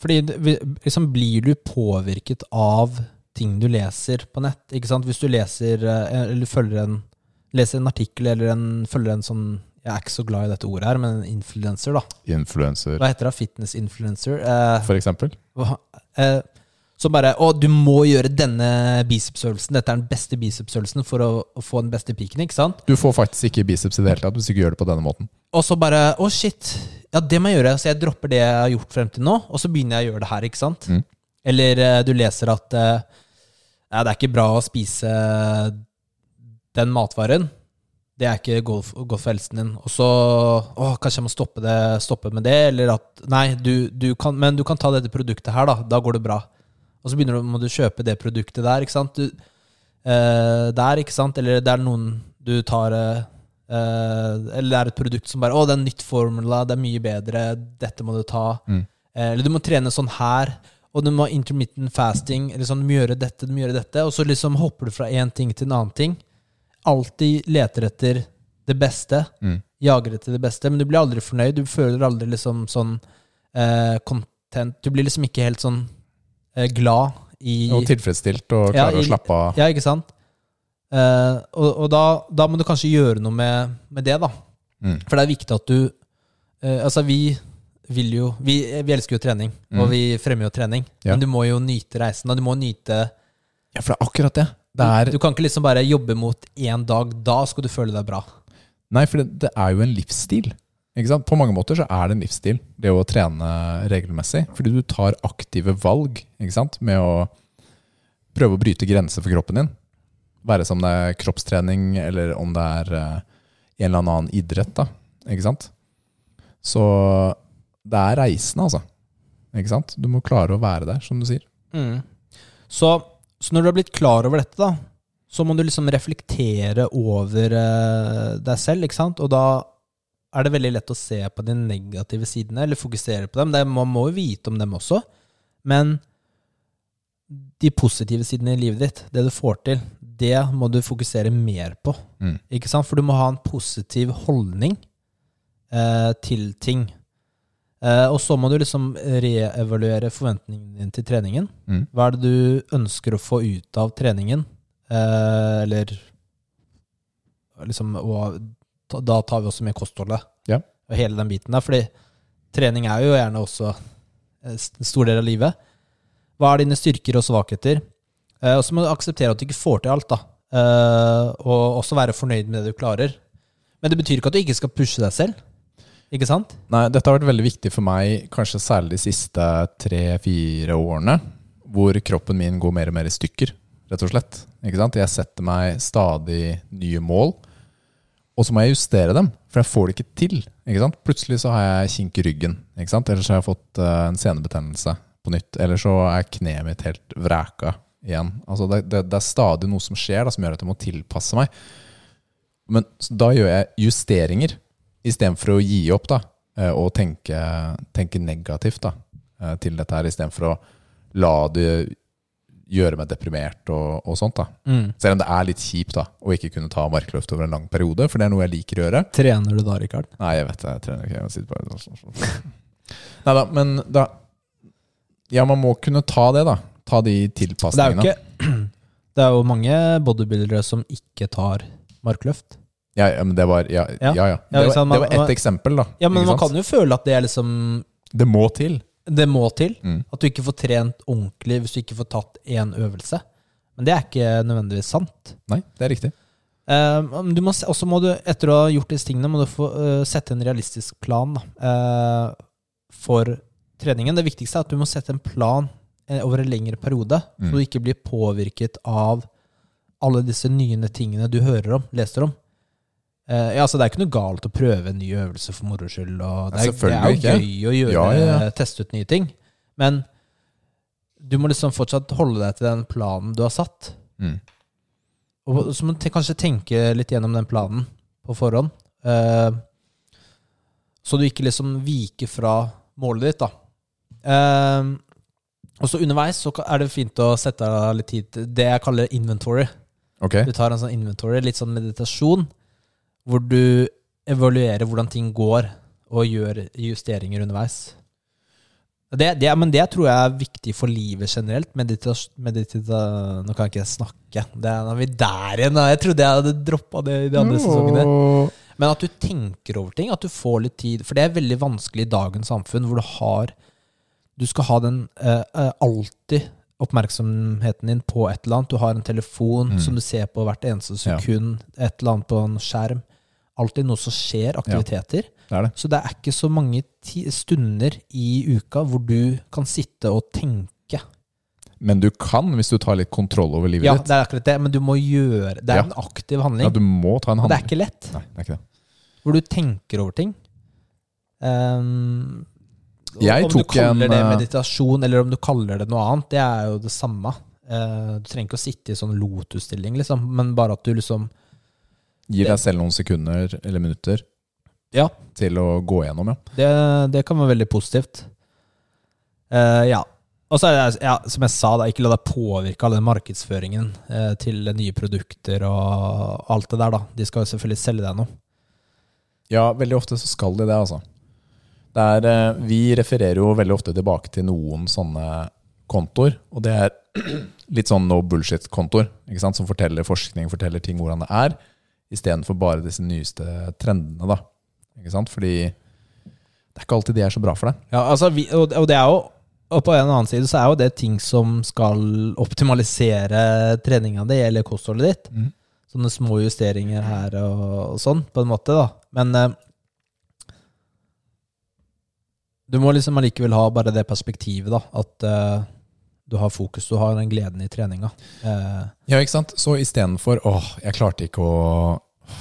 S1: Fordi det- vi- liksom blir du påvirket av ting du leser på nett, ikke sant? Hvis du leser eh, eller følger en, leser en artikkel eller en, følger en sånn Jeg er ikke så glad i dette ordet her, men en influenser, da.
S2: Influencer,
S1: Hva heter det? Fitness-influencer? Eh,
S2: for eksempel.
S1: hva- eh, som bare Å, du må gjøre denne bicepsøvelsen. Dette er den beste bicepsøvelsen for å, å få den beste piken, ikke sant?
S2: Du får faktisk ikke biceps i det hele tatt hvis du ikke gjør det på denne måten.
S1: Og så bare Å, shit. Ja, det må jeg gjøre. Så jeg dropper det jeg har gjort frem til nå, og så begynner jeg å gjøre det her, ikke sant?
S2: Mm.
S1: Eller eh, du leser at eh, ja, det er ikke bra å spise den matvaren. Det er ikke golf- godt for helsen din. Og så Å, kanskje jeg må stoppe, det, stoppe med det, eller at Nei, du, du kan, men du kan ta dette produktet her, da. Da går det bra. Og så begynner du, må du kjøpe det produktet der, ikke sant? Du, eh, der, ikke sant? Eller det er noen du tar eh, eh, Eller det er et produkt som bare 'Å, det er en nytt formula, det er mye bedre, dette må du ta'.
S2: Mm.
S1: Eh, eller du må trene sånn her, og du må ha intermittent fasting, eller sånn, du må gjøre dette, du må gjøre dette. Og så liksom hopper du fra én ting til en annen ting. Alltid leter etter det beste,
S2: Mm.
S1: jager etter det beste, men du blir aldri fornøyd. Du føler aldri liksom sånn eh, content Du blir liksom ikke helt sånn eh, glad i
S2: Og tilfredsstilt og
S1: Ja,
S2: klare
S1: i-
S2: å slappe av.
S1: ja, ikke sant? Eh, og og da, da må du kanskje gjøre noe med, med det, da.
S2: Mm.
S1: For det er viktig at du eh, Altså, vi vil jo Vi, vi elsker jo trening, og vi fremmer jo trening.
S2: Mm. Ja.
S1: Men du må jo nyte reisen, og du må nyte
S2: Ja, for det er akkurat det. Det er,
S1: Du kan ikke liksom bare jobbe mot én dag. Da skal du føle deg bra.
S2: nei, for det, det er jo en livsstil. Ikke sant? På mange måter så er det en livsstil, det å trene regelmessig. Fordi du tar aktive valg ikke sant? med å prøve å bryte grenser for kroppen din. Være som det er kroppstrening, eller om det er eh, en eller annen idrett. da, ikke sant? Så det er reisende, altså. Ikke sant? Du må klare å være der, som du sier.
S1: Mm. Så, så når du har blitt klar over dette, da, så må du liksom reflektere over eh, deg selv, ikke sant? Og da er det veldig lett å se på de negative sidene, eller fokusere på dem. Det, man må jo vite om dem også. Men de positive sidene i livet ditt, det du får til, det må du fokusere mer på.
S2: Mm.
S1: Ikke sant? For du må ha en positiv holdning eh, til ting. Eh, og så må du liksom reevaluere forventningene dine til treningen.
S2: Mm.
S1: Hva er det du ønsker å få ut av treningen? Eh, eller liksom og, ta- Da tar vi også med kostholdet
S2: Ja.
S1: og hele den biten der. Fordi trening er jo gjerne også en st- en stor del av livet. Hva er dine styrker og svakheter? Eh, og så må du akseptere at du ikke får til alt, da. Eh, og også være fornøyd med det du klarer. Men det betyr ikke at du ikke skal pushe deg selv. Ikke sant?
S2: Nei, dette har vært veldig viktig for meg, kanskje særlig de siste tre-fire årene, hvor kroppen min går mer og mer i stykker, rett og slett. Ikke sant? Jeg setter meg stadig nye mål, og så må jeg justere dem, for jeg får det ikke til. Ikke sant? Plutselig så har jeg kink i ryggen, ikke sant? eller så har jeg fått eh, en senebetennelse på nytt, eller så er kneet mitt helt vreka igjen. Altså det, det, det er stadig noe som skjer da, som gjør at jeg må tilpasse meg. Men så da gjør jeg justeringer istedenfor å gi opp da, eh, og tenke, tenke negativt da, eh, til dette her, istedenfor å la det gjøre meg deprimert og, og sånt. da.
S1: Mm.
S2: Selv om det er litt kjipt da, å ikke kunne ta markløft over en lang periode, for det er noe jeg liker å gjøre.
S1: Trener du da, Rikard?
S2: Nei, jeg vet det. Jeg trener ikke. Jeg sitter bare Neida, men sånn, da Ja, man må kunne ta det, da. Ta de
S1: Det er jo
S2: tilpasningene.
S1: ikke Det er jo mange bodybuildere som ikke tar markløft.
S2: Ja, ja, men det var Ja, ja.
S1: Ja.
S2: ja,
S1: Ja, ikke
S2: Det, var,
S1: sant, man-
S2: det var
S1: man-
S2: ett eksempel, da.
S1: Ja, men
S2: Ikke
S1: man
S2: sant?
S1: kan jo føle at det er liksom
S2: Det må til.
S1: Det må til.
S2: Mm.
S1: At du ikke får trent ordentlig hvis du ikke får tatt én øvelse. Men det er ikke nødvendigvis sant.
S2: Nei, det er riktig.
S1: Eh, men du må, se- også må du, etter å ha gjort disse tingene, må du få, eh, sette en realistisk plan da, eh, for treningen. Det viktigste er at du må sette en plan eh, over en lengre periode,
S2: Mm.
S1: så du ikke blir påvirket av alle disse nye tingene du hører om, leser om. Eh, ja, altså, det er ikke noe galt å prøve en ny øvelse for moro skyld. Og det, er,
S2: Nei,
S1: det er jo
S2: selvfølgelig ikke.
S1: gøy å gjøre, eh,
S2: Ja, ja, ja.
S1: teste ut nye ting. Men du må liksom fortsatt holde deg til den planen du har satt.
S2: Mm.
S1: Og så må du te- kanskje tenke litt gjennom den planen på forhånd. eh, så du ikke liksom viker fra målet ditt, da. Eh, og så underveis så ka- er det fint å sette av litt tid til det jeg kaller inventory.
S2: Ok.
S1: Du tar en sånn inventory, litt sånn meditasjon, hvor du evaluerer hvordan ting går, og gjør justeringer underveis. Det, det, men det tror jeg er viktig for livet generelt. Meditas, meditita, nå kan jeg ikke snakke. Det er, nå er vi der igjen. da. Jeg trodde jeg hadde droppa det i de andre sesongene. Men at du tenker over ting, at du får litt tid. For det er veldig vanskelig i dagens samfunn, hvor du har Du skal ha den eh, eh, alltid oppmerksomheten din på et eller annet. Du har en telefon som du ser på hvert eneste
S2: Mm. Ja.
S1: sekund. Et eller annet på en skjerm. Alltid noe som skjer. Aktiviteter.
S2: Det er det.
S1: Så det er ikke så mange ti stunder i uka hvor du kan sitte og tenke.
S2: Men du kan, hvis du tar litt kontroll over livet
S1: Ja,
S2: ditt.
S1: det er akkurat det, men du må gjøre Det er
S2: Ja.
S1: en aktiv handling.
S2: Ja, du må ta en
S1: og det er
S2: handling.
S1: ikke lett.
S2: Nei, det er ikke det.
S1: hvor du tenker over ting. Ehm,
S2: Jeg
S1: om du
S2: tok
S1: kaller
S2: en,
S1: det
S2: eh,
S1: meditasjon, eller om du kaller det noe annet, det er jo det samme. Eh, du trenger ikke å sitte i sånn lotus-stilling, liksom, men bare at du liksom
S2: Gi deg selv noen sekunder eller minutter
S1: Ja,
S2: til å gå gjennom, ja.
S1: det, det kan være veldig positivt. Eh, ja. Og så er det, ja, som jeg sa, da, ikke la deg påvirke av den markedsføringen eh, til nye produkter og alt det der, da. De skal jo selvfølgelig selge deg noe.
S2: Ja, veldig ofte så skal de det, altså. Det er, eh, vi refererer jo veldig ofte tilbake til noen sånne kontoer, og det er litt sånn no bullshit-kontoer, ikke sant, som forteller forskning, forteller ting hvordan det er, istedenfor bare disse nyeste trendene, da. Ikke sant, fordi Det er ikke alltid de er så bra for deg.
S1: Ja, altså, vi, og, og det er jo og på en annen side så er jo det ting som skal optimalisere treninga di eller kostholdet ditt.
S2: Mhm.
S1: Sånne små justeringer her og, og sånn, på en måte, da. Men eh, du må liksom allikevel ha bare det perspektivet, da. At eh, du har fokus, du har den gleden i treninga. Eh,
S2: Ja, ikke sant? Så istedenfor åh, jeg klarte ikke å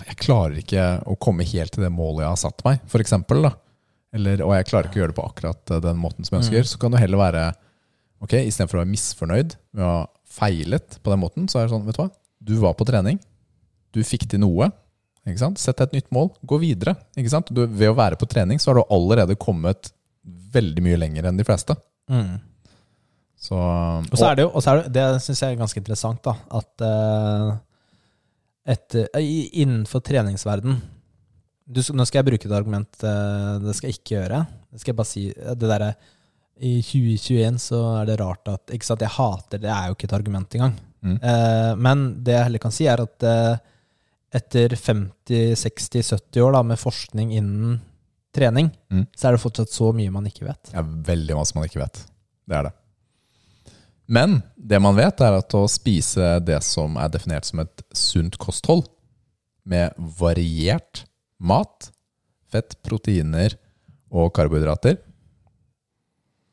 S2: jeg klarer ikke å komme helt til det målet jeg har satt meg, for eksempel, da. Eller, og jeg klarer ikke å gjøre det på akkurat eh, den måten som
S1: Mm.
S2: jeg ønsker. Så kan du heller være ok, istedenfor å være misfornøyd med å ha feilet på den måten, så er det sånn, vet du hva, du var på trening, du fikk til noe. ikke sant? Sett deg et nytt mål, gå videre. ikke sant? Du, ved å være på trening så har du allerede kommet veldig mye lenger enn de fleste.
S1: mm.
S2: Så,
S1: Og så er det jo, og så er det, det syns jeg er ganske interessant, da, at eh, etter, i- innenfor treningsverden du, skal- Nå skal jeg bruke et argument eh, det skal jeg ikke gjøre. Det skal jeg bare si eh, det derre I 2021 så er det rart at Ikke sant, jeg hater det, er jo ikke et argument engang.
S2: Mm.
S1: Eh, men det jeg heller kan si, er at eh, etter 50-60-70 år da, med forskning innen trening,
S2: Mm.
S1: så er det fortsatt så mye man ikke vet.
S2: Det er veldig masse man ikke vet. Det er det. Men det man vet, er at å spise det som er definert som et sunt kosthold, med variert mat, fett, proteiner og karbohydrater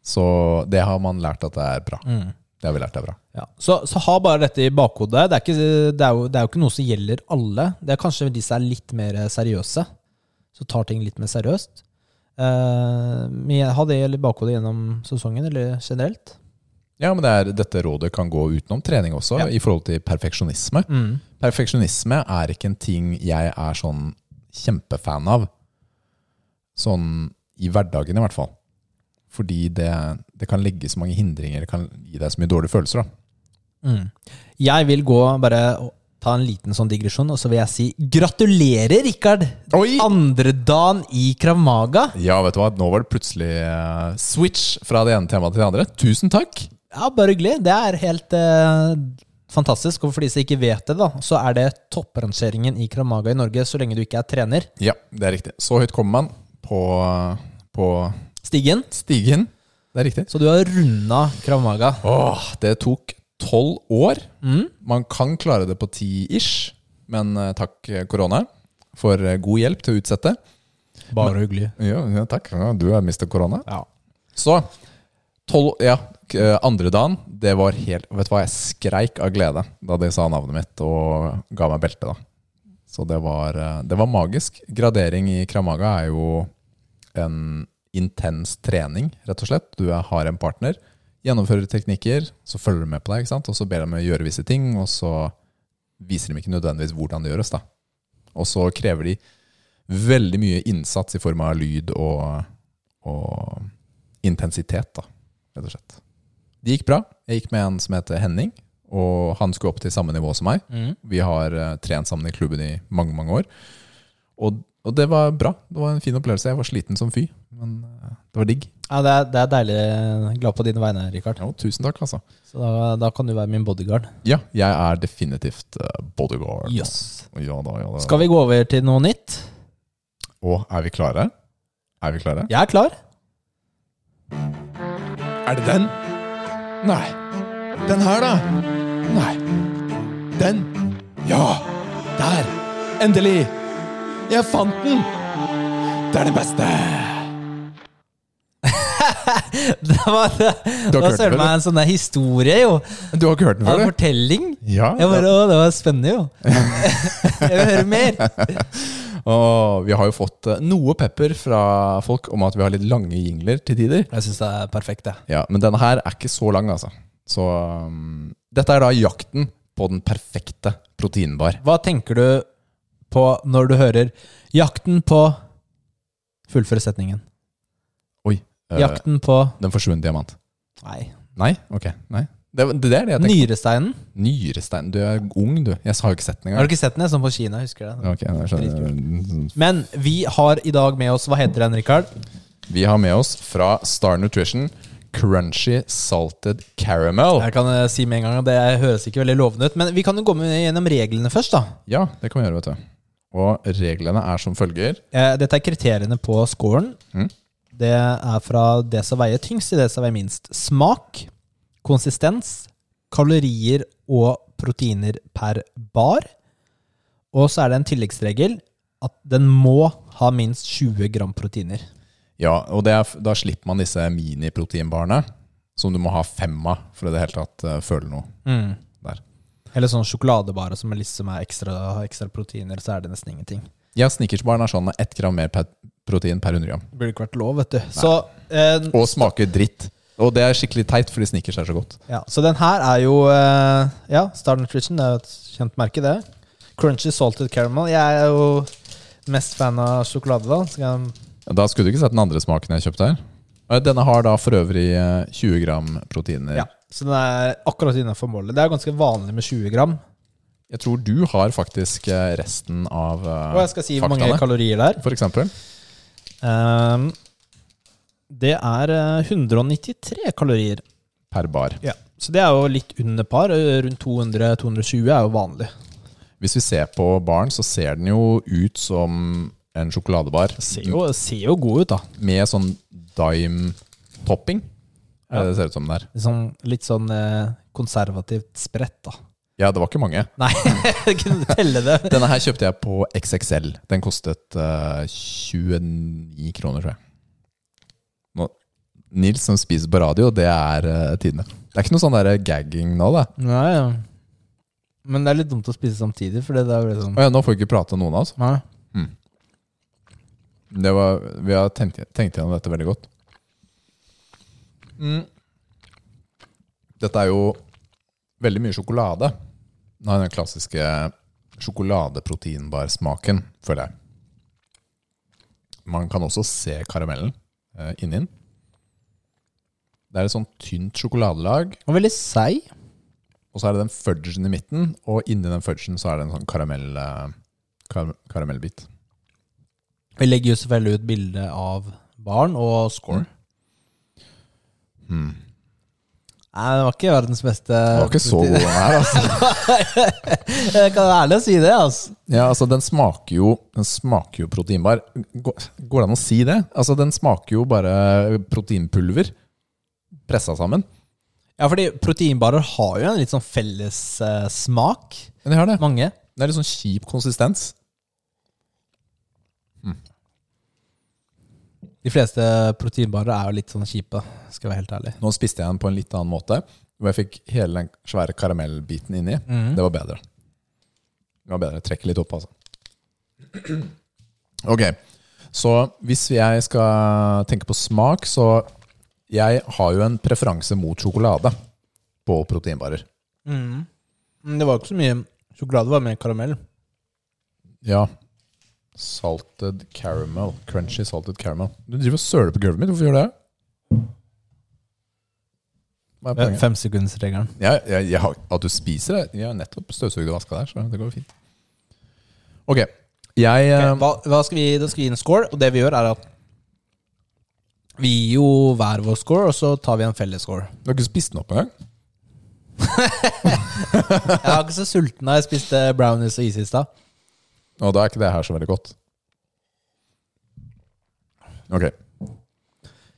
S2: Så det har man lært at det er bra.
S1: Mm.
S2: Det har vi lært er bra.
S1: Ja. Så, så ha bare dette i bakhodet. Det er, ikke, det, er jo, det er jo ikke noe som gjelder alle. Det er kanskje de som er litt mer seriøse, som tar ting litt mer seriøst. Eh, men jeg- ha det i bakhodet gjennom sesongen, eller generelt.
S2: Ja, men det er, dette rådet kan gå utenom trening også,
S1: Ja.
S2: i forhold til perfeksjonisme.
S1: Mm.
S2: Perfeksjonisme er ikke en ting jeg er sånn kjempefan av. Sånn i hverdagen, i hvert fall. Fordi det, det kan legge så mange hindringer, det kan gi deg så mye dårlige følelser. Da.
S1: Mm. Jeg vil gå bare og ta en liten sånn digresjon, og så vil jeg si gratulerer, Rikard!
S2: Oi!
S1: Andre dagen i Krav Maga.
S2: Ja, vet du hva, nå var det plutselig eh, switch fra det ene temaet til det andre. Tusen takk!
S1: Ja, bare hyggelig. Det er helt eh, fantastisk. Og for de som ikke vet det, da, så er det topprangeringen i Krav Maga i Norge så lenge du ikke er trener.
S2: Ja, det er riktig. Så høyt kommer man på, på
S1: Stigen.
S2: stigen. Det er riktig.
S1: Så du har runda Krav Maga.
S2: Åh, det tok tolv år.
S1: Mm.
S2: Man kan klare det på ti ish, men eh, takk eh, korona for eh, god hjelp til å utsette.
S1: Bare hyggelig.
S2: Ja, ja takk. Ja, du har mistet korona.
S1: Ja.
S2: Så, tolv, ja, k- eh, andre dagen, det var helt, vet du hva, jeg skreik av glede da de sa navnet mitt og ga meg belte da. Så det var, eh, det var magisk. Gradering i Kramaga er jo en intens trening, rett og slett. Du er- har en partner, gjennomfører teknikker, så følger de med på deg, ikke sant? Og så ber de meg gjøre visse ting, og så viser de ikke nødvendigvis hvordan det gjøres da. Og så krever de veldig mye innsats i form av lyd og, og intensitet, da, rett og slett. Det gikk bra. Jeg gikk med en som heter Henning, og han skulle opp til samme nivå som meg.
S1: Mm.
S2: Vi har eh, trent sammen i klubben i mange, mange år. Og, og det var bra. Det var en fin opplevelse. Jeg var sliten som fy, men eh, det var digg.
S1: Ja, det, er, det er deilig. Glad på dine vegne, Rikard.
S2: Jo, tusen takk, altså.
S1: Så da, da kan du være min bodyguard.
S2: Ja, jeg er definitivt eh, bodyguard.
S1: Yes.
S2: Ja da, ja da.
S1: Skal vi gå over til noe nytt?
S2: Og er vi klare? Er vi klare?
S1: Jeg er klar.
S2: Er det den? Nei. Den her, da? Nei. Den? Ja! Der! Endelig! Jeg fant den! Det er det beste!
S1: Det var, det var
S2: hørt
S1: søren
S2: det,
S1: meg en sånn der historie, jo.
S2: Du har ikke hørt den
S1: Det var en
S2: før, du?
S1: fortelling.
S2: Ja.
S1: Jeg bare, å, det var spennende, jo. Jeg vil høre mer.
S2: Og vi har jo fått eh, noe pepper fra folk om at vi har litt lange jingler til tider.
S1: Jeg syns det er perfekt, det.
S2: Ja, Men denne her er ikke så lang, altså. Så um, dette er da jakten på den perfekte proteinbar.
S1: Hva tenker du på når du hører 'Jakten på' Fullføre setningen.
S2: Oi. eh,
S1: 'Jakten på'
S2: Den forsvunne diamant.
S1: Nei.
S2: Nei? Ok. Nei. Det, det er det jeg tenker.
S1: Nyresteinen.
S2: Nyrestein. Du er ung, du. Jeg har jo ikke sett den
S1: Har du
S2: engang.
S1: ikke sett den? Jeg så den på Kina, jeg husker det.
S2: Ok, jeg skjønner.
S1: Men vi har i dag med oss Hva heter den, Rikard?
S2: Vi har med oss fra Star Nutrition Crunchy Salted Caramel.
S1: Jeg kan eh, si med en gang at Det høres ikke veldig lovende ut. Men vi kan jo gå med gjennom reglene først. da
S2: Ja, det kan vi gjøre, vet du. Og reglene er som følger.
S1: Eh, Dette er kriteriene på scoren.
S2: Mm.
S1: Det er fra det som veier tyngst til det som veier minst. Smak, konsistens, kalorier og proteiner per bar. Og så er det en tilleggsregel at den må ha minst 20 gram proteiner.
S2: Ja, og det er, f- da slipper man disse miniproteinbarene, som du må ha fem av for å i det hele tatt eh, føle noe
S1: Mm.
S2: der.
S1: Eller sånn sjokoladebarer som er liksom er ekstra, har ekstra proteiner, så er det nesten ingenting.
S2: Ja, Snickersbaren er sånn med ett gram mer per protein per 100 gram.
S1: Det burde ikke vært lov, vet du. Så, eh,
S2: Og smaker dritt. Og det er skikkelig teit, fordi Snickers er så godt.
S1: ja, så den her er jo eh, Ja, Star Nutrition er jo et kjent merke, det. Crunchy salted caramel. Jeg er jo mest fan av sjokolade, da. Så kan jeg
S2: Da skulle du ikke sett den andre smaken jeg kjøpte her. Eh, Denne har da for øvrig eh, 20 gram proteiner.
S1: Ja, så den er akkurat innenfor målet. Det er ganske vanlig med 20 gram.
S2: Jeg tror du har faktisk eh, resten av eh,
S1: Og jeg skal si hvor mange
S2: faktaene,
S1: kalorier det er.
S2: for eksempel.
S1: Ehm, det er eh, 193 kalorier.
S2: Per bar.
S1: Så det er jo litt under par. eh, Rundt 200-220 er jo vanlig.
S2: Hvis vi ser på baren, så ser den jo ut som en sjokoladebar.
S1: Ser jo, ser jo god ut, da.
S2: Med sånn dime-topping. Er det det ser ut som det er?
S1: Litt sånn, litt sånn eh, konservativt spredt, da.
S2: Ja, det var ikke mange.
S1: Nei, jeg kunne telle det.
S2: Denne her kjøpte jeg på XXL. Den kostet eh, 29 kroner, tror jeg. Nå, Nils som spiser på radio, det er eh, tidene. Det er ikke noe sånn der gagging nå, da.
S1: Nei, ja. Men det er litt dumt å spise samtidig, for det er jo liksom
S2: Å ja, nå får vi ikke prate noen av oss.
S1: Nei.
S2: Det var, vi har tenkt, tenkt gjennom dette veldig godt. Mm. Dette er jo veldig mye sjokolade. Den har den klassiske sjokoladeproteinbarsmaken, føler jeg. Man kan også se karamellen eh, inni den. Det er et sånn tynt sjokoladelag,
S1: Og veldig seig.
S2: og så er det den fudgen i midten, og inni den fudgen så er det en sånn karamell, eh, kar karamellbit.
S1: Vi legger jo selvfølgelig ut bilde av baren og scoren.
S2: Mm.
S1: Nei, det var ikke verdens beste.
S2: Det var ikke så god den her, altså.
S1: Jeg kan være ærlig og si det, altså.
S2: Ja, altså den smaker jo Den smaker jo proteinbar Gå- Går det an å si det? Altså den smaker jo bare proteinpulver Pressa sammen
S1: Ja, fordi proteinbarer har jo en litt sånn felles eh, smak.
S2: Men det har det
S1: Mange.
S2: Det er litt sånn kjip konsistens
S1: De fleste proteinbarer er jo litt sånn kjipe, skal jeg være helt ærlig.
S2: Nå spiste jeg den på en litt annen måte Hvor jeg fikk hele den svære karamellbiten inni Det var bedre Det var bedre, trekke litt opp altså Ok, så hvis jeg skal tenke på smak Så jeg har jo en preferanse mot sjokolade På proteinbarer
S1: Men Mm, Det var ikke så mye sjokolade, det var mer karamell.
S2: Ja. Salted caramel. Crunchy salted caramel. Du driver og søler på gulvet mitt. Hvorfor gjør du det? Hva er
S1: Eh,
S2: poenget?
S1: Femsekundsregelen.
S2: Ja, jeg, jeg har, at du spiser det? Jeg har nettopp støvsugd og vaska der, så det går jo fint. Ok. Jeg eh,
S1: Hva, hva skal vi, da skal vi gi en score, og det vi gjør, er at vi gir jo hver vår score, og så tar vi en felles score.
S2: Du har ikke spist den opp engang?
S1: Jeg var ikke så sulten da jeg spiste brownies og is i stad.
S2: Og da er ikke det her så veldig godt. Ok.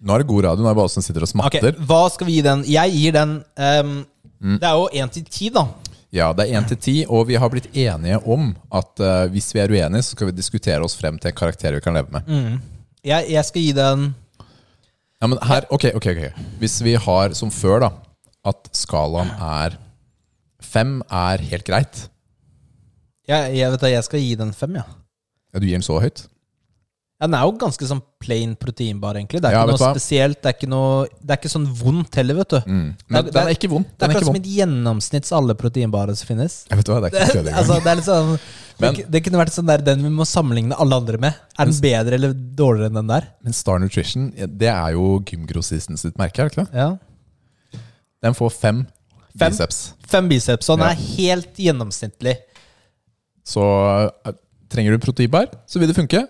S2: Nå er det god radio. Nå er det bare oss som sitter og
S1: Ok,
S2: smatter.
S1: hva skal vi gi den? Jeg gir den ehm, Det er jo én til ti, da.
S2: Ja, det er 1 til 10, og vi har blitt enige om at eh, hvis vi er uenige, så skal vi diskutere oss frem til en karakter vi kan leve
S1: Mm.
S2: med.
S1: Jeg, jeg skal gi den
S2: Ja, men her, ok, ok, ok. Hvis vi har, som før da, at skalaen er 5 er helt greit.
S1: Jeg, jeg vet det, jeg skal gi den fem, ja.
S2: Ja, du gir den så høyt.
S1: Ja, Den er jo ganske sånn plain proteinbar, egentlig. Det er
S2: Ja,
S1: ikke
S2: vet du
S1: noe
S2: hva? Mm.
S1: spesielt. Det er ikke, noe, det er ikke sånn vondt heller, vet du.
S2: Men den er ikke vond.
S1: Det
S2: Den
S1: er
S2: er
S1: akkurat
S2: ikke
S1: som
S2: vond.
S1: et gjennomsnitts av alle proteinbarer som finnes.
S2: Jeg vet hva, det er ikke kødd engang.
S1: altså, det er litt sånn
S2: Men-
S1: det, det kunne vært sånn der den vi må sammenligne alle andre med. Er den bedre eller dårligere enn den der?
S2: Men Star Nutrition, ja, det er jo gymgrossisten sitt merke, er det ikke det?
S1: Ja.
S2: Den får 5
S1: Fem?
S2: biceps.
S1: Fem biceps, og den
S2: Ja.
S1: er helt gjennomsnittlig.
S2: Så eh, trenger du proteinbar, så vil det funke.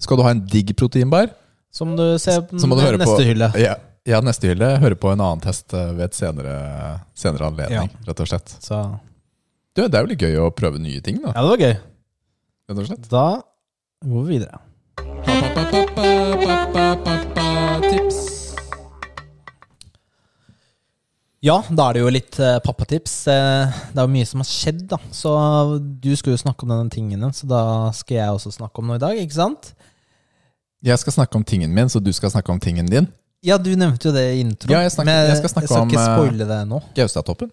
S2: Skal du ha en digg proteinbar,
S1: Som du ser på
S2: Så må du høre
S1: neste
S2: på
S1: hylle.
S2: Ja, ja, neste hylle. Høre på en annen test eh, ved et senere, senere anledning, rett og slett.
S1: Så.
S2: Du, det er jo litt gøy å prøve nye ting, da.
S1: Ja, det var gøy.
S2: Rett og slett.
S1: Da går vi videre.
S3: Pam,
S2: Tips.
S1: Ja, da er det jo litt eh, pappatips. Eh, det er jo mye som har skjedd, da. Så du skulle jo snakke om denne tingene, så da skal jeg også snakke om noe i dag, ikke sant?
S2: Jeg skal snakke om tingen min, så du skal snakke om tingen din.
S1: Ja, du nevnte jo det i introen.
S2: Ja, jeg snakker-
S1: men
S2: jeg skal snakke om,
S1: ikke
S2: eh,
S1: spoile det nå.
S2: Gaustatoppen.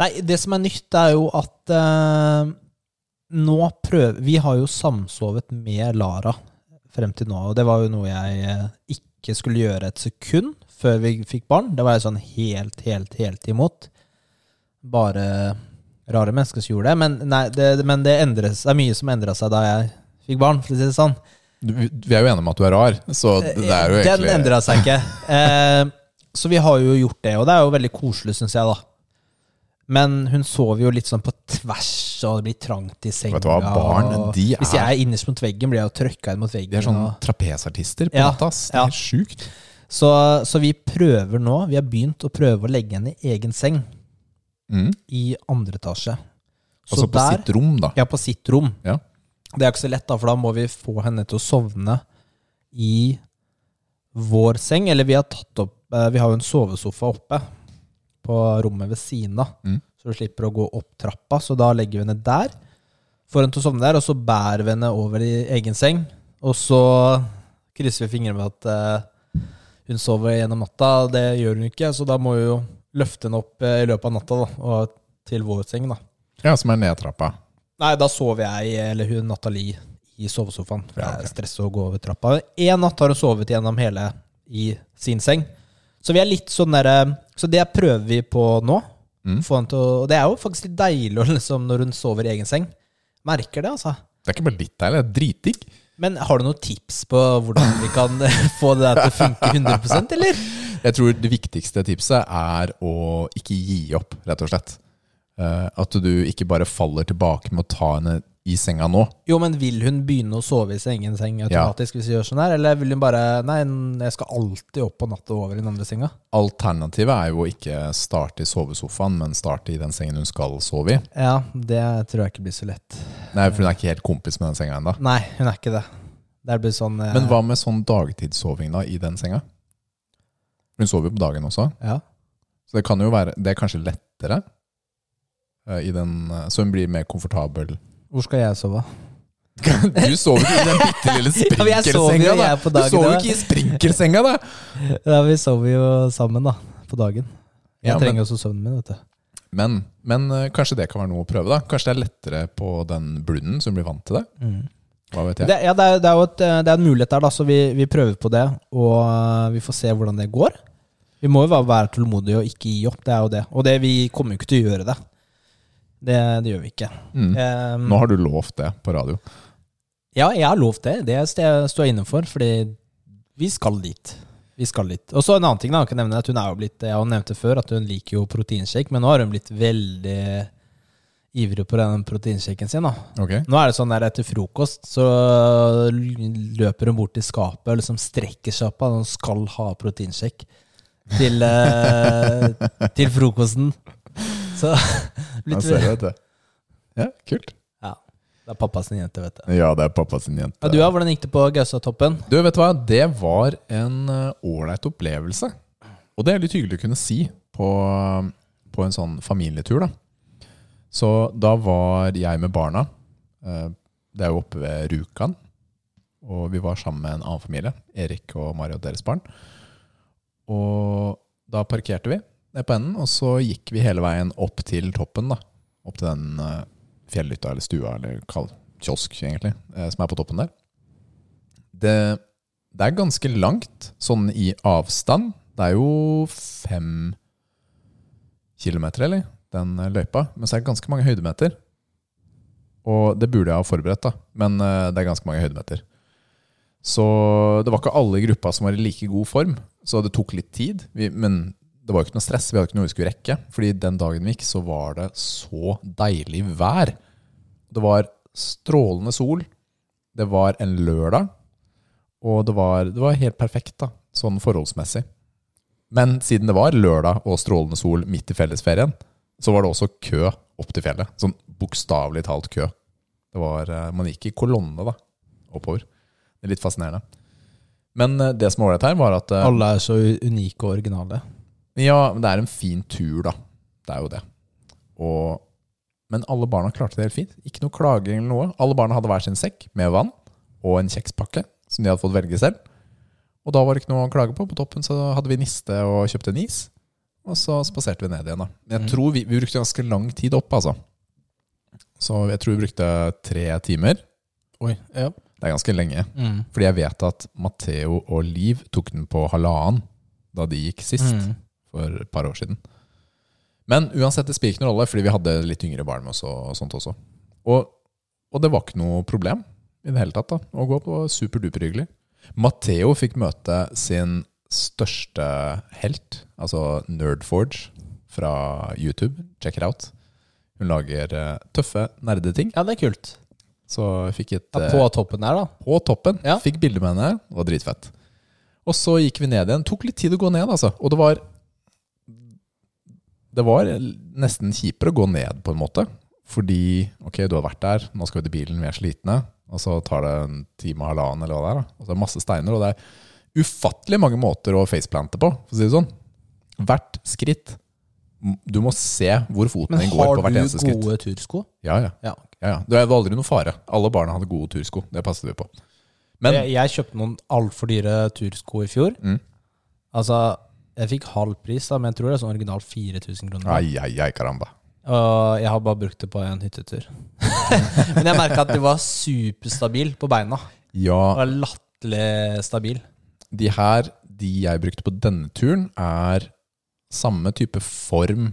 S1: Nei, det som er nytt, er jo at eh, nå prøver Vi har jo samsovet med Lara frem til nå, og det var jo noe jeg eh, ikke skulle gjøre et sekund før vi fikk barn. Det var jeg sånn helt, helt, helt imot. Bare rare mennesker som gjorde det. Men, nei, det, men det, endres, det er mye som endra seg da jeg fikk barn, for å si det sånn.
S2: Du- Vi er jo enige om at du er rar, så det er jo
S1: Eh, Den
S2: egentlig
S1: endra seg ikke. Eh, så vi har jo gjort det, og det er jo veldig koselig, syns jeg, da. Men hun sover jo litt sånn på tvers, og det blir trangt i senga.
S2: Vet du hva, barn,
S1: og
S2: de
S1: Hvis
S2: er-
S1: jeg er innerst mot veggen, blir jeg jo trøkka inn mot veggen.
S2: De er sånn
S1: og-
S2: trapesartister på
S1: Ja,
S2: natta. ass. Det
S1: ja.
S2: er sjukt.
S1: så, så vi prøver nå, vi har begynt å prøve å legge henne i egen seng
S2: Mm.
S1: i andre etasje. Så
S2: Altså på
S1: der-
S2: sitt rom, da.
S1: Ja, på sitt rom.
S2: Ja.
S1: Det er ikke så lett, da, for da må vi få henne til å sovne i vår seng. Eller vi har tatt opp eh, Vi har jo en sovesofa oppe på rommet ved siden av,
S2: Mm.
S1: så du slipper å gå opp trappa. Så da legger vi henne der, får henne til å sovne der, og så bærer vi henne over i egen seng. Og så krysser vi fingrene med at eh, hun sover gjennom natta. Det gjør hun ikke, så da må vi jo løfte henne opp eh, i løpet av natta da, og til vår seng. da
S2: Ja, som er nedtrappa.
S1: Nei, da sover jeg, eller hun Nathalie, i sovesofaen. For
S2: Ja,
S1: det
S2: ok.
S1: er stress å gå over trappa. Én natt har hun sovet gjennom hele i sin seng. Så vi er litt sånn derre Så det prøver vi på nå.
S2: Mm.
S1: Få henne til å, og det er jo faktisk litt deilig å liksom, når hun sover i egen seng. Merker det, altså.
S2: Det er ikke bare litt deilig, det er dritdigg.
S1: Men har du noen tips på hvordan vi kan eh, få det der til å funke 100 eller?
S2: Jeg tror det viktigste tipset er å ikke gi opp, rett og slett. Eh, at du ikke bare faller tilbake med å ta henne i senga nå.
S1: Jo, men vil hun begynne å sove i sin egen seng automatisk hvis vi gjør sånn her? Eller vil hun bare Nei, jeg skal alltid opp på natta og over i den andre senga.
S2: Alternativet er jo å ikke starte i sovesofaen, men starte i den sengen hun skal sove i.
S1: Ja, det tror jeg ikke blir så lett.
S2: Nei, For hun er ikke helt kompis med den senga ennå.
S1: Nei, hun er ikke det. Det blir sånn eh,
S2: Men hva med sånn dagtidssoving da, i den senga? Hun sover jo på dagen også,
S1: Ja.
S2: så det kan jo være Det er kanskje lettere. eh, I den, eh, så hun blir mer komfortabel.
S1: Hvor skal jeg sove?
S2: Du sover ikke i den bitte lille
S1: Ja, men jeg sover jo, jeg
S2: sprinkelsenga,
S1: er på
S2: da! Du
S1: dagen,
S2: sover jo
S1: da.
S2: ikke i sprinkelsenga, da!
S1: Ja, Vi sover jo sammen, da. På dagen. Jeg
S2: Ja, men-
S1: trenger også søvnen min, vet du.
S2: Men, men eh, kanskje det kan være noe å prøve, da. Kanskje det er lettere på den blunden, så hun blir vant til det.
S1: Mm.
S2: Hva vet jeg.
S1: Det, ja, det, er, det, er jo et, eh, det er en mulighet der, da, så vi, vi prøver på det. Og eh, vi får se hvordan det går. Vi må jo bare være tålmodige og ikke gi opp. Det er jo det. Og det, vi kommer jo ikke til å gjøre det. Det, det gjør vi ikke.
S2: Mm.
S1: Eh,
S2: Nå har du lovt det på radio.
S1: Ja, jeg har lovt det. Det st- står jeg inne for, fordi vi skal dit. Vi skal dit. Og så en annen ting, da. Jeg kan nevne at hun er jo blitt Jeg har nevnt det før, at hun liker jo proteinshake, men nå har hun blitt veldig ivrig på den proteinshaken sin, da.
S2: Ok?
S1: Nå er det sånn der etter frokost, så løper hun bort til skapet og liksom strekker seg opp. at Hun skal ha proteinshake til, eh, til frokosten. Så
S2: Jeg
S1: blitt,
S2: ser det, vet du. Ja, kult.
S1: Ja. Det er pappa sin jente, vet du.
S2: Ja, det er pappa sin jente.
S1: Ja, du, ja, hvordan gikk det på Gaustatoppen?
S2: Du, vet du hva? Det var en eh, ålreit opplevelse. Og det er litt hyggelig å kunne si på, på en sånn familietur, da. Så da var jeg med barna. eh, Det er jo oppe ved Rjukan. Og vi var sammen med en annen familie. Erik og Mari og deres barn. Og da parkerte vi ned på enden, og så gikk vi hele veien opp til toppen, da. Opp til den eh, fjellhytta eller stua eller kall kiosk, egentlig, eh, som er på toppen der det, det er ganske langt, sånn i avstand. Det er jo fem kilometer, eller? Den eh, løypa. Men så er det ganske mange høydemeter. Og det burde jeg ha forberedt, da. Men eh, det er ganske mange høydemeter. Så det var ikke alle i gruppa som var i like god form. Så det tok litt tid. Vi, men det var jo ikke noe stress. Vi hadde ikke noe vi skulle rekke. Fordi den dagen vi gikk, så var det så deilig vær. Det var strålende sol. Det var en lørdag. Og det var, det var helt perfekt, da, sånn forholdsmessig. Men siden det var lørdag og strålende sol midt i fellesferien, så var det også kø opp til fjellet. Sånn bokstavelig talt kø. Det var, eh, man gikk i kolonne da, oppover. Det er litt fascinerende. Men eh, det som var ålreit her, var at eh,
S1: Alle er så unike og originale.
S2: Ja, men det er en fin tur, da. Det er jo det. Og, men alle barna klarte det helt fint. Ikke noe klaging eller noe. Alle barna hadde hver sin sekk med vann og en kjekspakke som de hadde fått velge selv. Og da var det ikke noe å klage på. På toppen så hadde vi niste og kjøpte en is. Og så spaserte vi ned igjen, da.
S1: Mm.
S2: Men jeg tror vi, vi brukte ganske lang tid opp, altså. Så jeg tror vi brukte tre timer.
S1: Oi, ja.
S2: Det er ganske lenge. Fordi jeg vet at Matheo og Liv tok den på halvannen da de gikk sist
S1: Mm.
S2: for et par år siden. Men uansett, det spiller ikke noen rolle, fordi vi hadde litt yngre barn med oss og sånt også. Og, og det var ikke noe problem i det hele tatt da, å gå på superduperhyggelig. Matheo fikk møte sin største helt, altså Nerdforge fra YouTube. Check it out. Hun lager eh, tøffe, nerdeting.
S1: ja, det er kult.
S2: Så jeg fikk et
S1: Ja,
S2: eh,
S1: på toppen der, da.
S2: på toppen.
S1: Ja.
S2: Fikk bilde med henne. Det var dritfett. Og så gikk vi ned igjen. Tok litt tid å gå ned, altså. Og det var Det var nesten kjipere å gå ned, på en måte. Fordi ok, du har vært der, nå skal vi til bilen, vi er slitne. Og så tar det en time og halvannen, eller hva det er. da. Og så er det masse steiner, og det er ufattelig mange måter å faceplante på, for å si det sånn. Hvert skritt. Du må se hvor foten
S1: Men
S2: din går
S1: har
S2: på hvert
S1: du
S2: eneste skritt.
S1: gode tursko?
S2: Ja, ja.
S1: Ja.
S2: ja, ja. Det var aldri noen fare. Alle barna hadde gode tursko. Det passet vi på. Men
S1: jeg, jeg kjøpte noen altfor dyre tursko i fjor.
S2: Mm.
S1: Altså, jeg fikk halv pris, da, men jeg tror det er sånn originalt 4000 kroner.
S2: Ai, ai, ai, karamba.
S1: Og jeg har bare brukt det på en hyttetur. men jeg merka at det var superstabil på beina. Det
S2: Ja,
S1: var Latterlig stabil.
S2: de her, de jeg brukte på denne turen, er samme type form,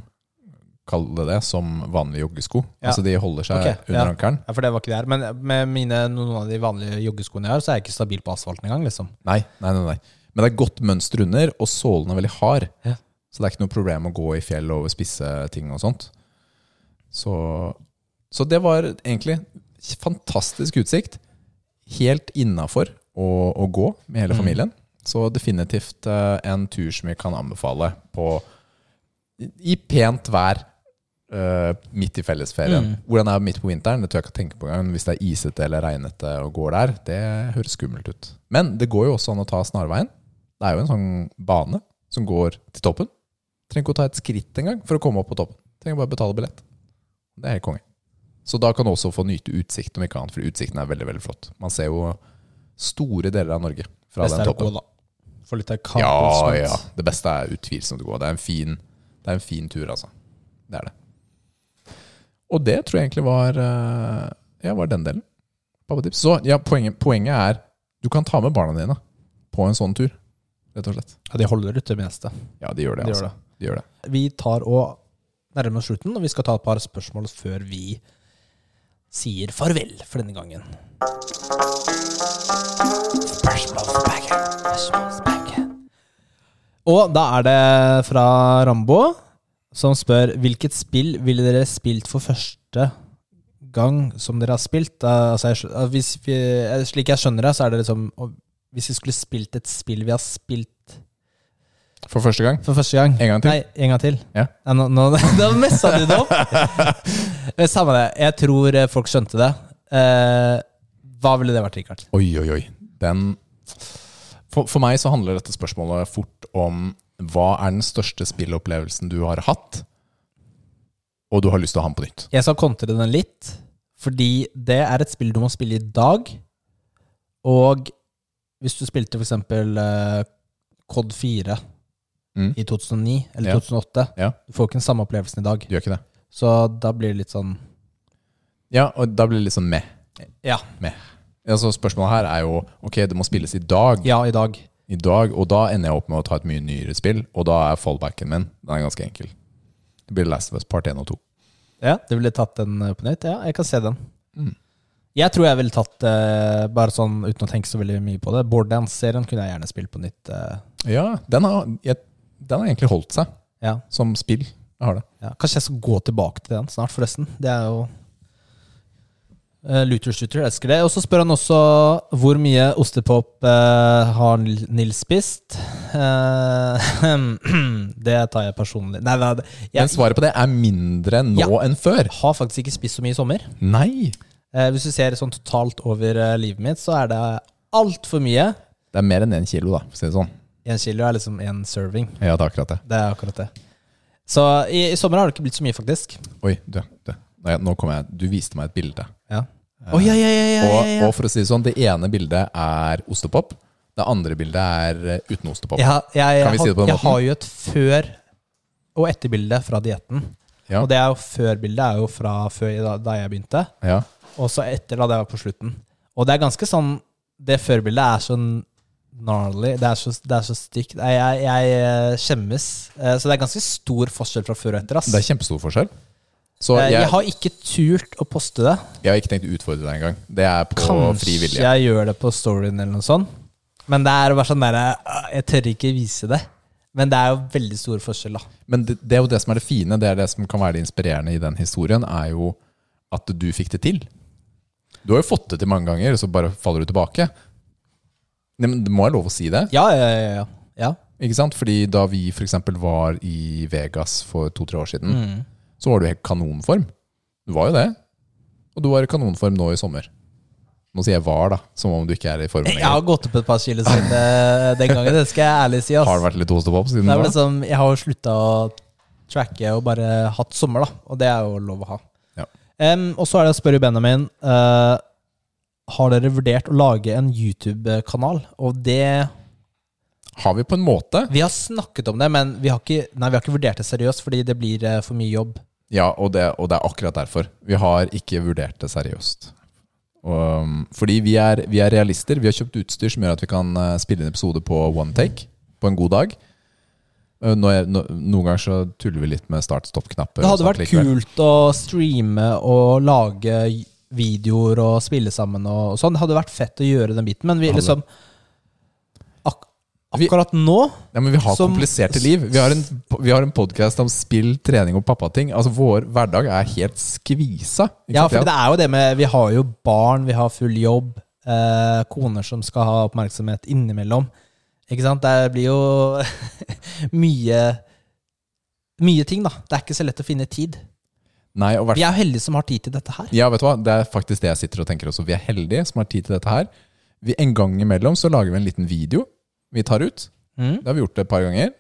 S2: kall det det, som vanlige joggesko.
S1: Ja.
S2: Altså de holder seg
S1: Ok,
S2: under
S1: ja.
S2: ankelen.
S1: Ja, for det var ikke det her. Men med mine, noen av de vanlige joggeskoene jeg har, så er jeg ikke stabil på asfalten engang. liksom.
S2: Nei, nei, nei, nei. Men det er godt mønster under, og sålen er veldig hard.
S1: Ja.
S2: Så det er ikke noe problem å gå i fjell og over spisse ting og sånt. Så, så det var egentlig fantastisk utsikt. Helt innafor å, å gå med hele familien. Så definitivt eh, en tur som vi kan anbefale på i pent vær eh, midt i fellesferien. Hvordan det er midt på vinteren, det tør jeg ikke tenke på engang. Hvis det er isete eller regnete og går der, det høres skummelt ut. Men det går jo også an å ta snarveien. Det er jo en sånn bane som går til toppen. Trenger ikke å ta et skritt engang for å komme opp på toppen. Trenger bare betale billett. Det er helt konge. Så da kan du også få nyte utsikten om ikke annet, for utsikten er veldig, veldig flott. Man ser jo store deler av Norge fra
S1: Best
S2: den
S1: er å
S2: toppen.
S1: gå, da. Få litt av
S2: Ja,
S1: Campbell's
S2: ja.
S1: Woods.
S2: Det beste er utvilsomt å gå. Det er en fin, det er en fin tur, altså. Det er det. Og det tror jeg egentlig var, eh, ja, var den delen. Pappatips. Så ja, poenget, poenget er du kan ta med barna dine på en sånn tur, rett og slett.
S1: Ja, de holder ut det meste.
S2: Ja, de gjør det.
S1: De gjør
S2: altså.
S1: det.
S2: De gjør det.
S1: Vi tar og nærmer oss slutten, og vi skal ta et par spørsmål før vi sier farvel for denne gangen. Spørsmålsbagen. Spørsmålsbagen. Og da er det fra Rambo, som spør hvilket spill ville dere spilt for første gang som dere har spilt? Da, altså, jeg, skjø- eh, hvis vi, eh, slik jeg skjønner det, så er det liksom og Hvis vi skulle spilt et spill vi har spilt
S2: For første gang.
S1: for første gang
S2: En gang til.
S1: Nei, en gang til.
S2: Ja.
S1: Nei, nå, nå, da messa du det opp. Men Samme det. Jeg tror eh, folk skjønte det. Eh, hva ville det vært, Rikard?
S2: Oi, oi, oi. Den for, for meg så handler dette spørsmålet fort om hva er den største spillopplevelsen du har hatt, og du har lyst til å ha den på nytt.
S1: Jeg skal kontre den litt, fordi det er et spill du må spille i dag. Og hvis du spilte f.eks. Uh, Cod 4
S2: Mm.
S1: i 2009 eller
S2: Ja.
S1: 2008,
S2: Ja.
S1: du får ikke den samme opplevelsen i dag.
S2: Du gjør ikke det?
S1: Så da blir det litt sånn
S2: Ja, og da blir det litt sånn meh.
S1: Ja,
S2: Altså, spørsmålet her er jo Ok, det må spilles i dag,
S1: ja i dag.
S2: I dag og da ender jeg opp med å ta et mye nyere spill, og da er fallbacken min Den er ganske enkel. Det blir Last of Us Part 1 og 2.
S1: Ja, du ville tatt den eh, på nytt? Ja, jeg kan se den. Jeg tror jeg ville tatt, eh, bare sånn uten å tenke så veldig mye på det, Borderlands-serien kunne jeg gjerne spilt på nytt. eh,
S2: Ja, den har, jeg, den har egentlig holdt seg
S1: ja,
S2: som spill. Jeg har det.
S1: ja. Kanskje jeg skal gå tilbake til den snart, forresten. Det er jo eh, Looter Shooter, jeg elsker det. Og så spør han også hvor mye ostepop eh, har Nil- Nils spist. Eh, det tar jeg personlig. Nei, nei, det-
S2: Men
S1: jeg
S2: svaret på det er mindre nå
S1: Ja.
S2: enn før.
S1: har faktisk ikke spist så mye i sommer.
S2: Nei!
S1: Eh, hvis du ser sånn totalt over eh, livet mitt, så er det altfor mye.
S2: Det er mer enn én kilo, da, for å si det sånn.
S1: Én kilo er liksom én serving.
S2: Ja, det er akkurat det.
S1: Det er akkurat det. Så i, i sommer har det ikke blitt så mye, faktisk.
S2: Oi, du, du. Nei, Nå kom jeg Du viste meg et bilde.
S1: Ja. Å, ja, ja, ja, ja, ja,
S2: Og,
S1: ja.
S2: og for å si det sånn, det ene bildet er ostepop. Det andre bildet er eh, uten ostepop.
S1: Jeg, har- jeg,
S2: Kan vi
S1: jeg,
S2: si det på
S1: har-
S2: den
S1: jeg
S2: måten?
S1: har jo et før- og etterbilde fra dietten.
S2: Ja.
S1: Og det er jo før-bildet er jo fra før, da, da jeg begynte,
S2: Ja.
S1: og så etter da det var på slutten. Og det er ganske sånn Det før-bildet er så gnarly. Det er så, det er så stygt. Jeg, jeg, jeg eh, skjemmes. Eh, Så det er ganske stor forskjell fra før og etter. Ass.
S2: Det er kjempestor forskjell. Så
S1: Eh,
S2: jeg,
S1: Jeg har ikke turt å poste det.
S2: jeg har ikke tenkt å utfordre deg engang. Det er på
S1: Kanskje
S2: fri vilje.
S1: jeg gjør det på storyen eller noe sånt. Men det er bare sånn der eh, Jeg tør ikke vise det. Men det er jo veldig stor forskjell, da.
S2: Men det, det er jo det som er det fine, det er det som kan være det inspirerende i den historien, er jo at du fikk det til. Du har jo fått det til mange ganger, og så bare faller du tilbake. Nei, men Det må være lov å si det.
S1: Ja, ja, ja. ja, ja.
S2: Ikke sant? Fordi da vi f.eks. var i Vegas for to-tre år siden,
S1: Mm.
S2: så var du i helt kanonform. Du var jo det. Og du var i kanonform nå i sommer. Nå sier jeg var, da, som om du ikke er i form
S1: Jeg har
S2: lenger.
S1: gått opp et par kilo siden eh, den gangen, det skal jeg ærlig si. Ass.
S2: Har det vært litt hostepopp siden
S1: Det
S2: da?
S1: er vel liksom, jeg har jo slutta å tracke og bare hatt sommer, da. Og det er jo lov å ha.
S2: Ja.
S1: Em, og så er det å spørre Benjamin. eh, har dere vurdert å lage en YouTube-kanal? Og det
S2: Har vi på en måte?
S1: Vi har snakket om det, men vi har ikke, nei, vi har ikke vurdert det seriøst, fordi det blir eh, for mye jobb.
S2: Ja, og det, og det er akkurat derfor. Vi har ikke vurdert det seriøst. Og, um, fordi vi er, vi er realister. Vi har kjøpt utstyr som gjør at vi kan eh, spille inn episode på one take på en god dag. Eh, Nå er, nå, noen ganger så tuller vi litt med start-stopp-knapper.
S1: Det
S2: og
S1: hadde
S2: sånt
S1: vært
S2: likevel.
S1: kult å streame og lage videoer og spille sammen og og sånn. Det hadde vært fett å gjøre den biten, men vi
S2: Hadde.
S1: liksom ak
S2: Vi-
S1: Akkurat nå
S2: Ja, men vi har
S1: Som-
S2: kompliserte liv. Vi har en, vi har en podkast om spill, trening og pappating. Altså, vår hverdag er helt skvisa. ikke
S1: Ja,
S2: sant?
S1: for det er jo det med Vi har jo barn, vi har full jobb, eh, koner som skal ha oppmerksomhet innimellom. Ikke sant? Det blir jo mye Mye ting, da. Det er ikke så lett å finne tid.
S2: Nei, og hvert
S1: Vi er jo heldige som har tid til dette her.
S2: Ja, vet du hva? Det er faktisk det jeg sitter og tenker også. Vi er heldige som har tid til dette her. Vi, en gang imellom så lager vi en liten video vi tar ut.
S1: Mm.
S2: Det har vi gjort et par ganger.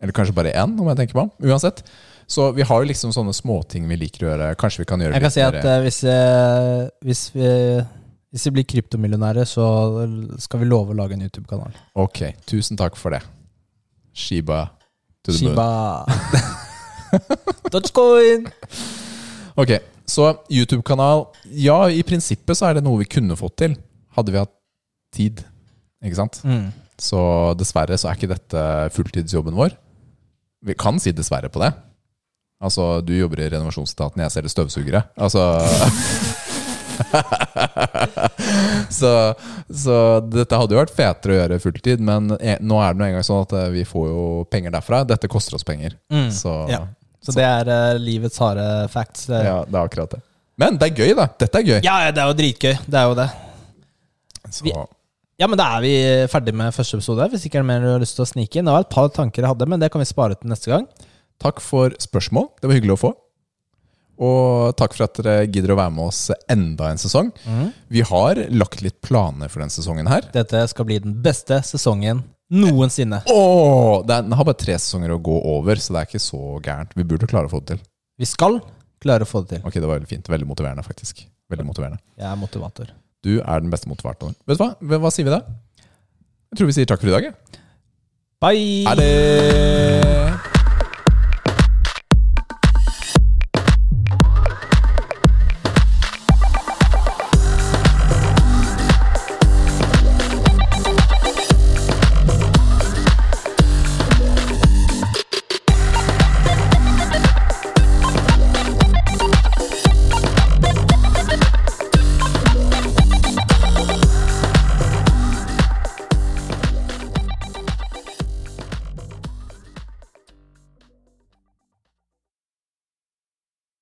S2: Eller kanskje bare én, om jeg tenker meg om. Uansett. Så vi har jo liksom sånne småting vi liker å gjøre. Kanskje vi kan gjøre
S1: Jeg kan si at
S2: mer-
S1: eh, hvis, eh, hvis, vi, hvis vi blir kryptomillionærer, så skal vi love å lage en YouTube-kanal.
S2: Ok, tusen takk for det. Shiba to the moon.
S1: Shiba Dogecoin!
S2: Ok, så YouTube-kanal. Ja, i prinsippet så er det noe vi kunne fått til. Hadde vi hatt tid. Ikke sant?
S1: Mm.
S2: Så dessverre så er ikke dette fulltidsjobben vår. Vi kan si dessverre på det. Altså, du jobber i renovasjonsstaten, jeg selger støvsugere. Altså så, så dette hadde jo vært fetere å gjøre fulltid, men e- nå er det nå engang sånn at eh, vi får jo penger derfra. Dette koster oss penger.
S1: Mm.
S2: Så
S1: Ja. Så det er eh, livets harde facts. eh. Det-
S2: ja, det er akkurat det. Men det er gøy, da. Dette er gøy.
S1: Ja, ja, det er jo dritgøy. Det er jo det.
S2: Så,
S1: vi- Ja, men da er vi ferdig med første episode. Hvis ikke er det mer du har lyst til å snike inn. Det var et par tanker jeg hadde, men det kan vi spare til neste gang.
S2: Takk for spørsmål. Det var hyggelig å få. Og takk for at dere gidder å være med oss enda en sesong. Vi har lagt litt planer for denne sesongen her.
S1: Dette skal bli den beste sesongen noensinne.
S2: Åh, det er, den har bare tre sesonger å gå over, så det er ikke så gærent. Vi burde klare å få det til.
S1: Vi skal klare å få det til.
S2: Ok, det var veldig fint. Veldig motiverende, faktisk. Veldig motiverende.
S1: Jeg er motivator.
S2: Du er den beste motivatoren. Vet du hva? Hva- Hva sier vi da? Jeg tror vi sier takk for i dag. jeg.
S1: Bye!
S2: Ha det!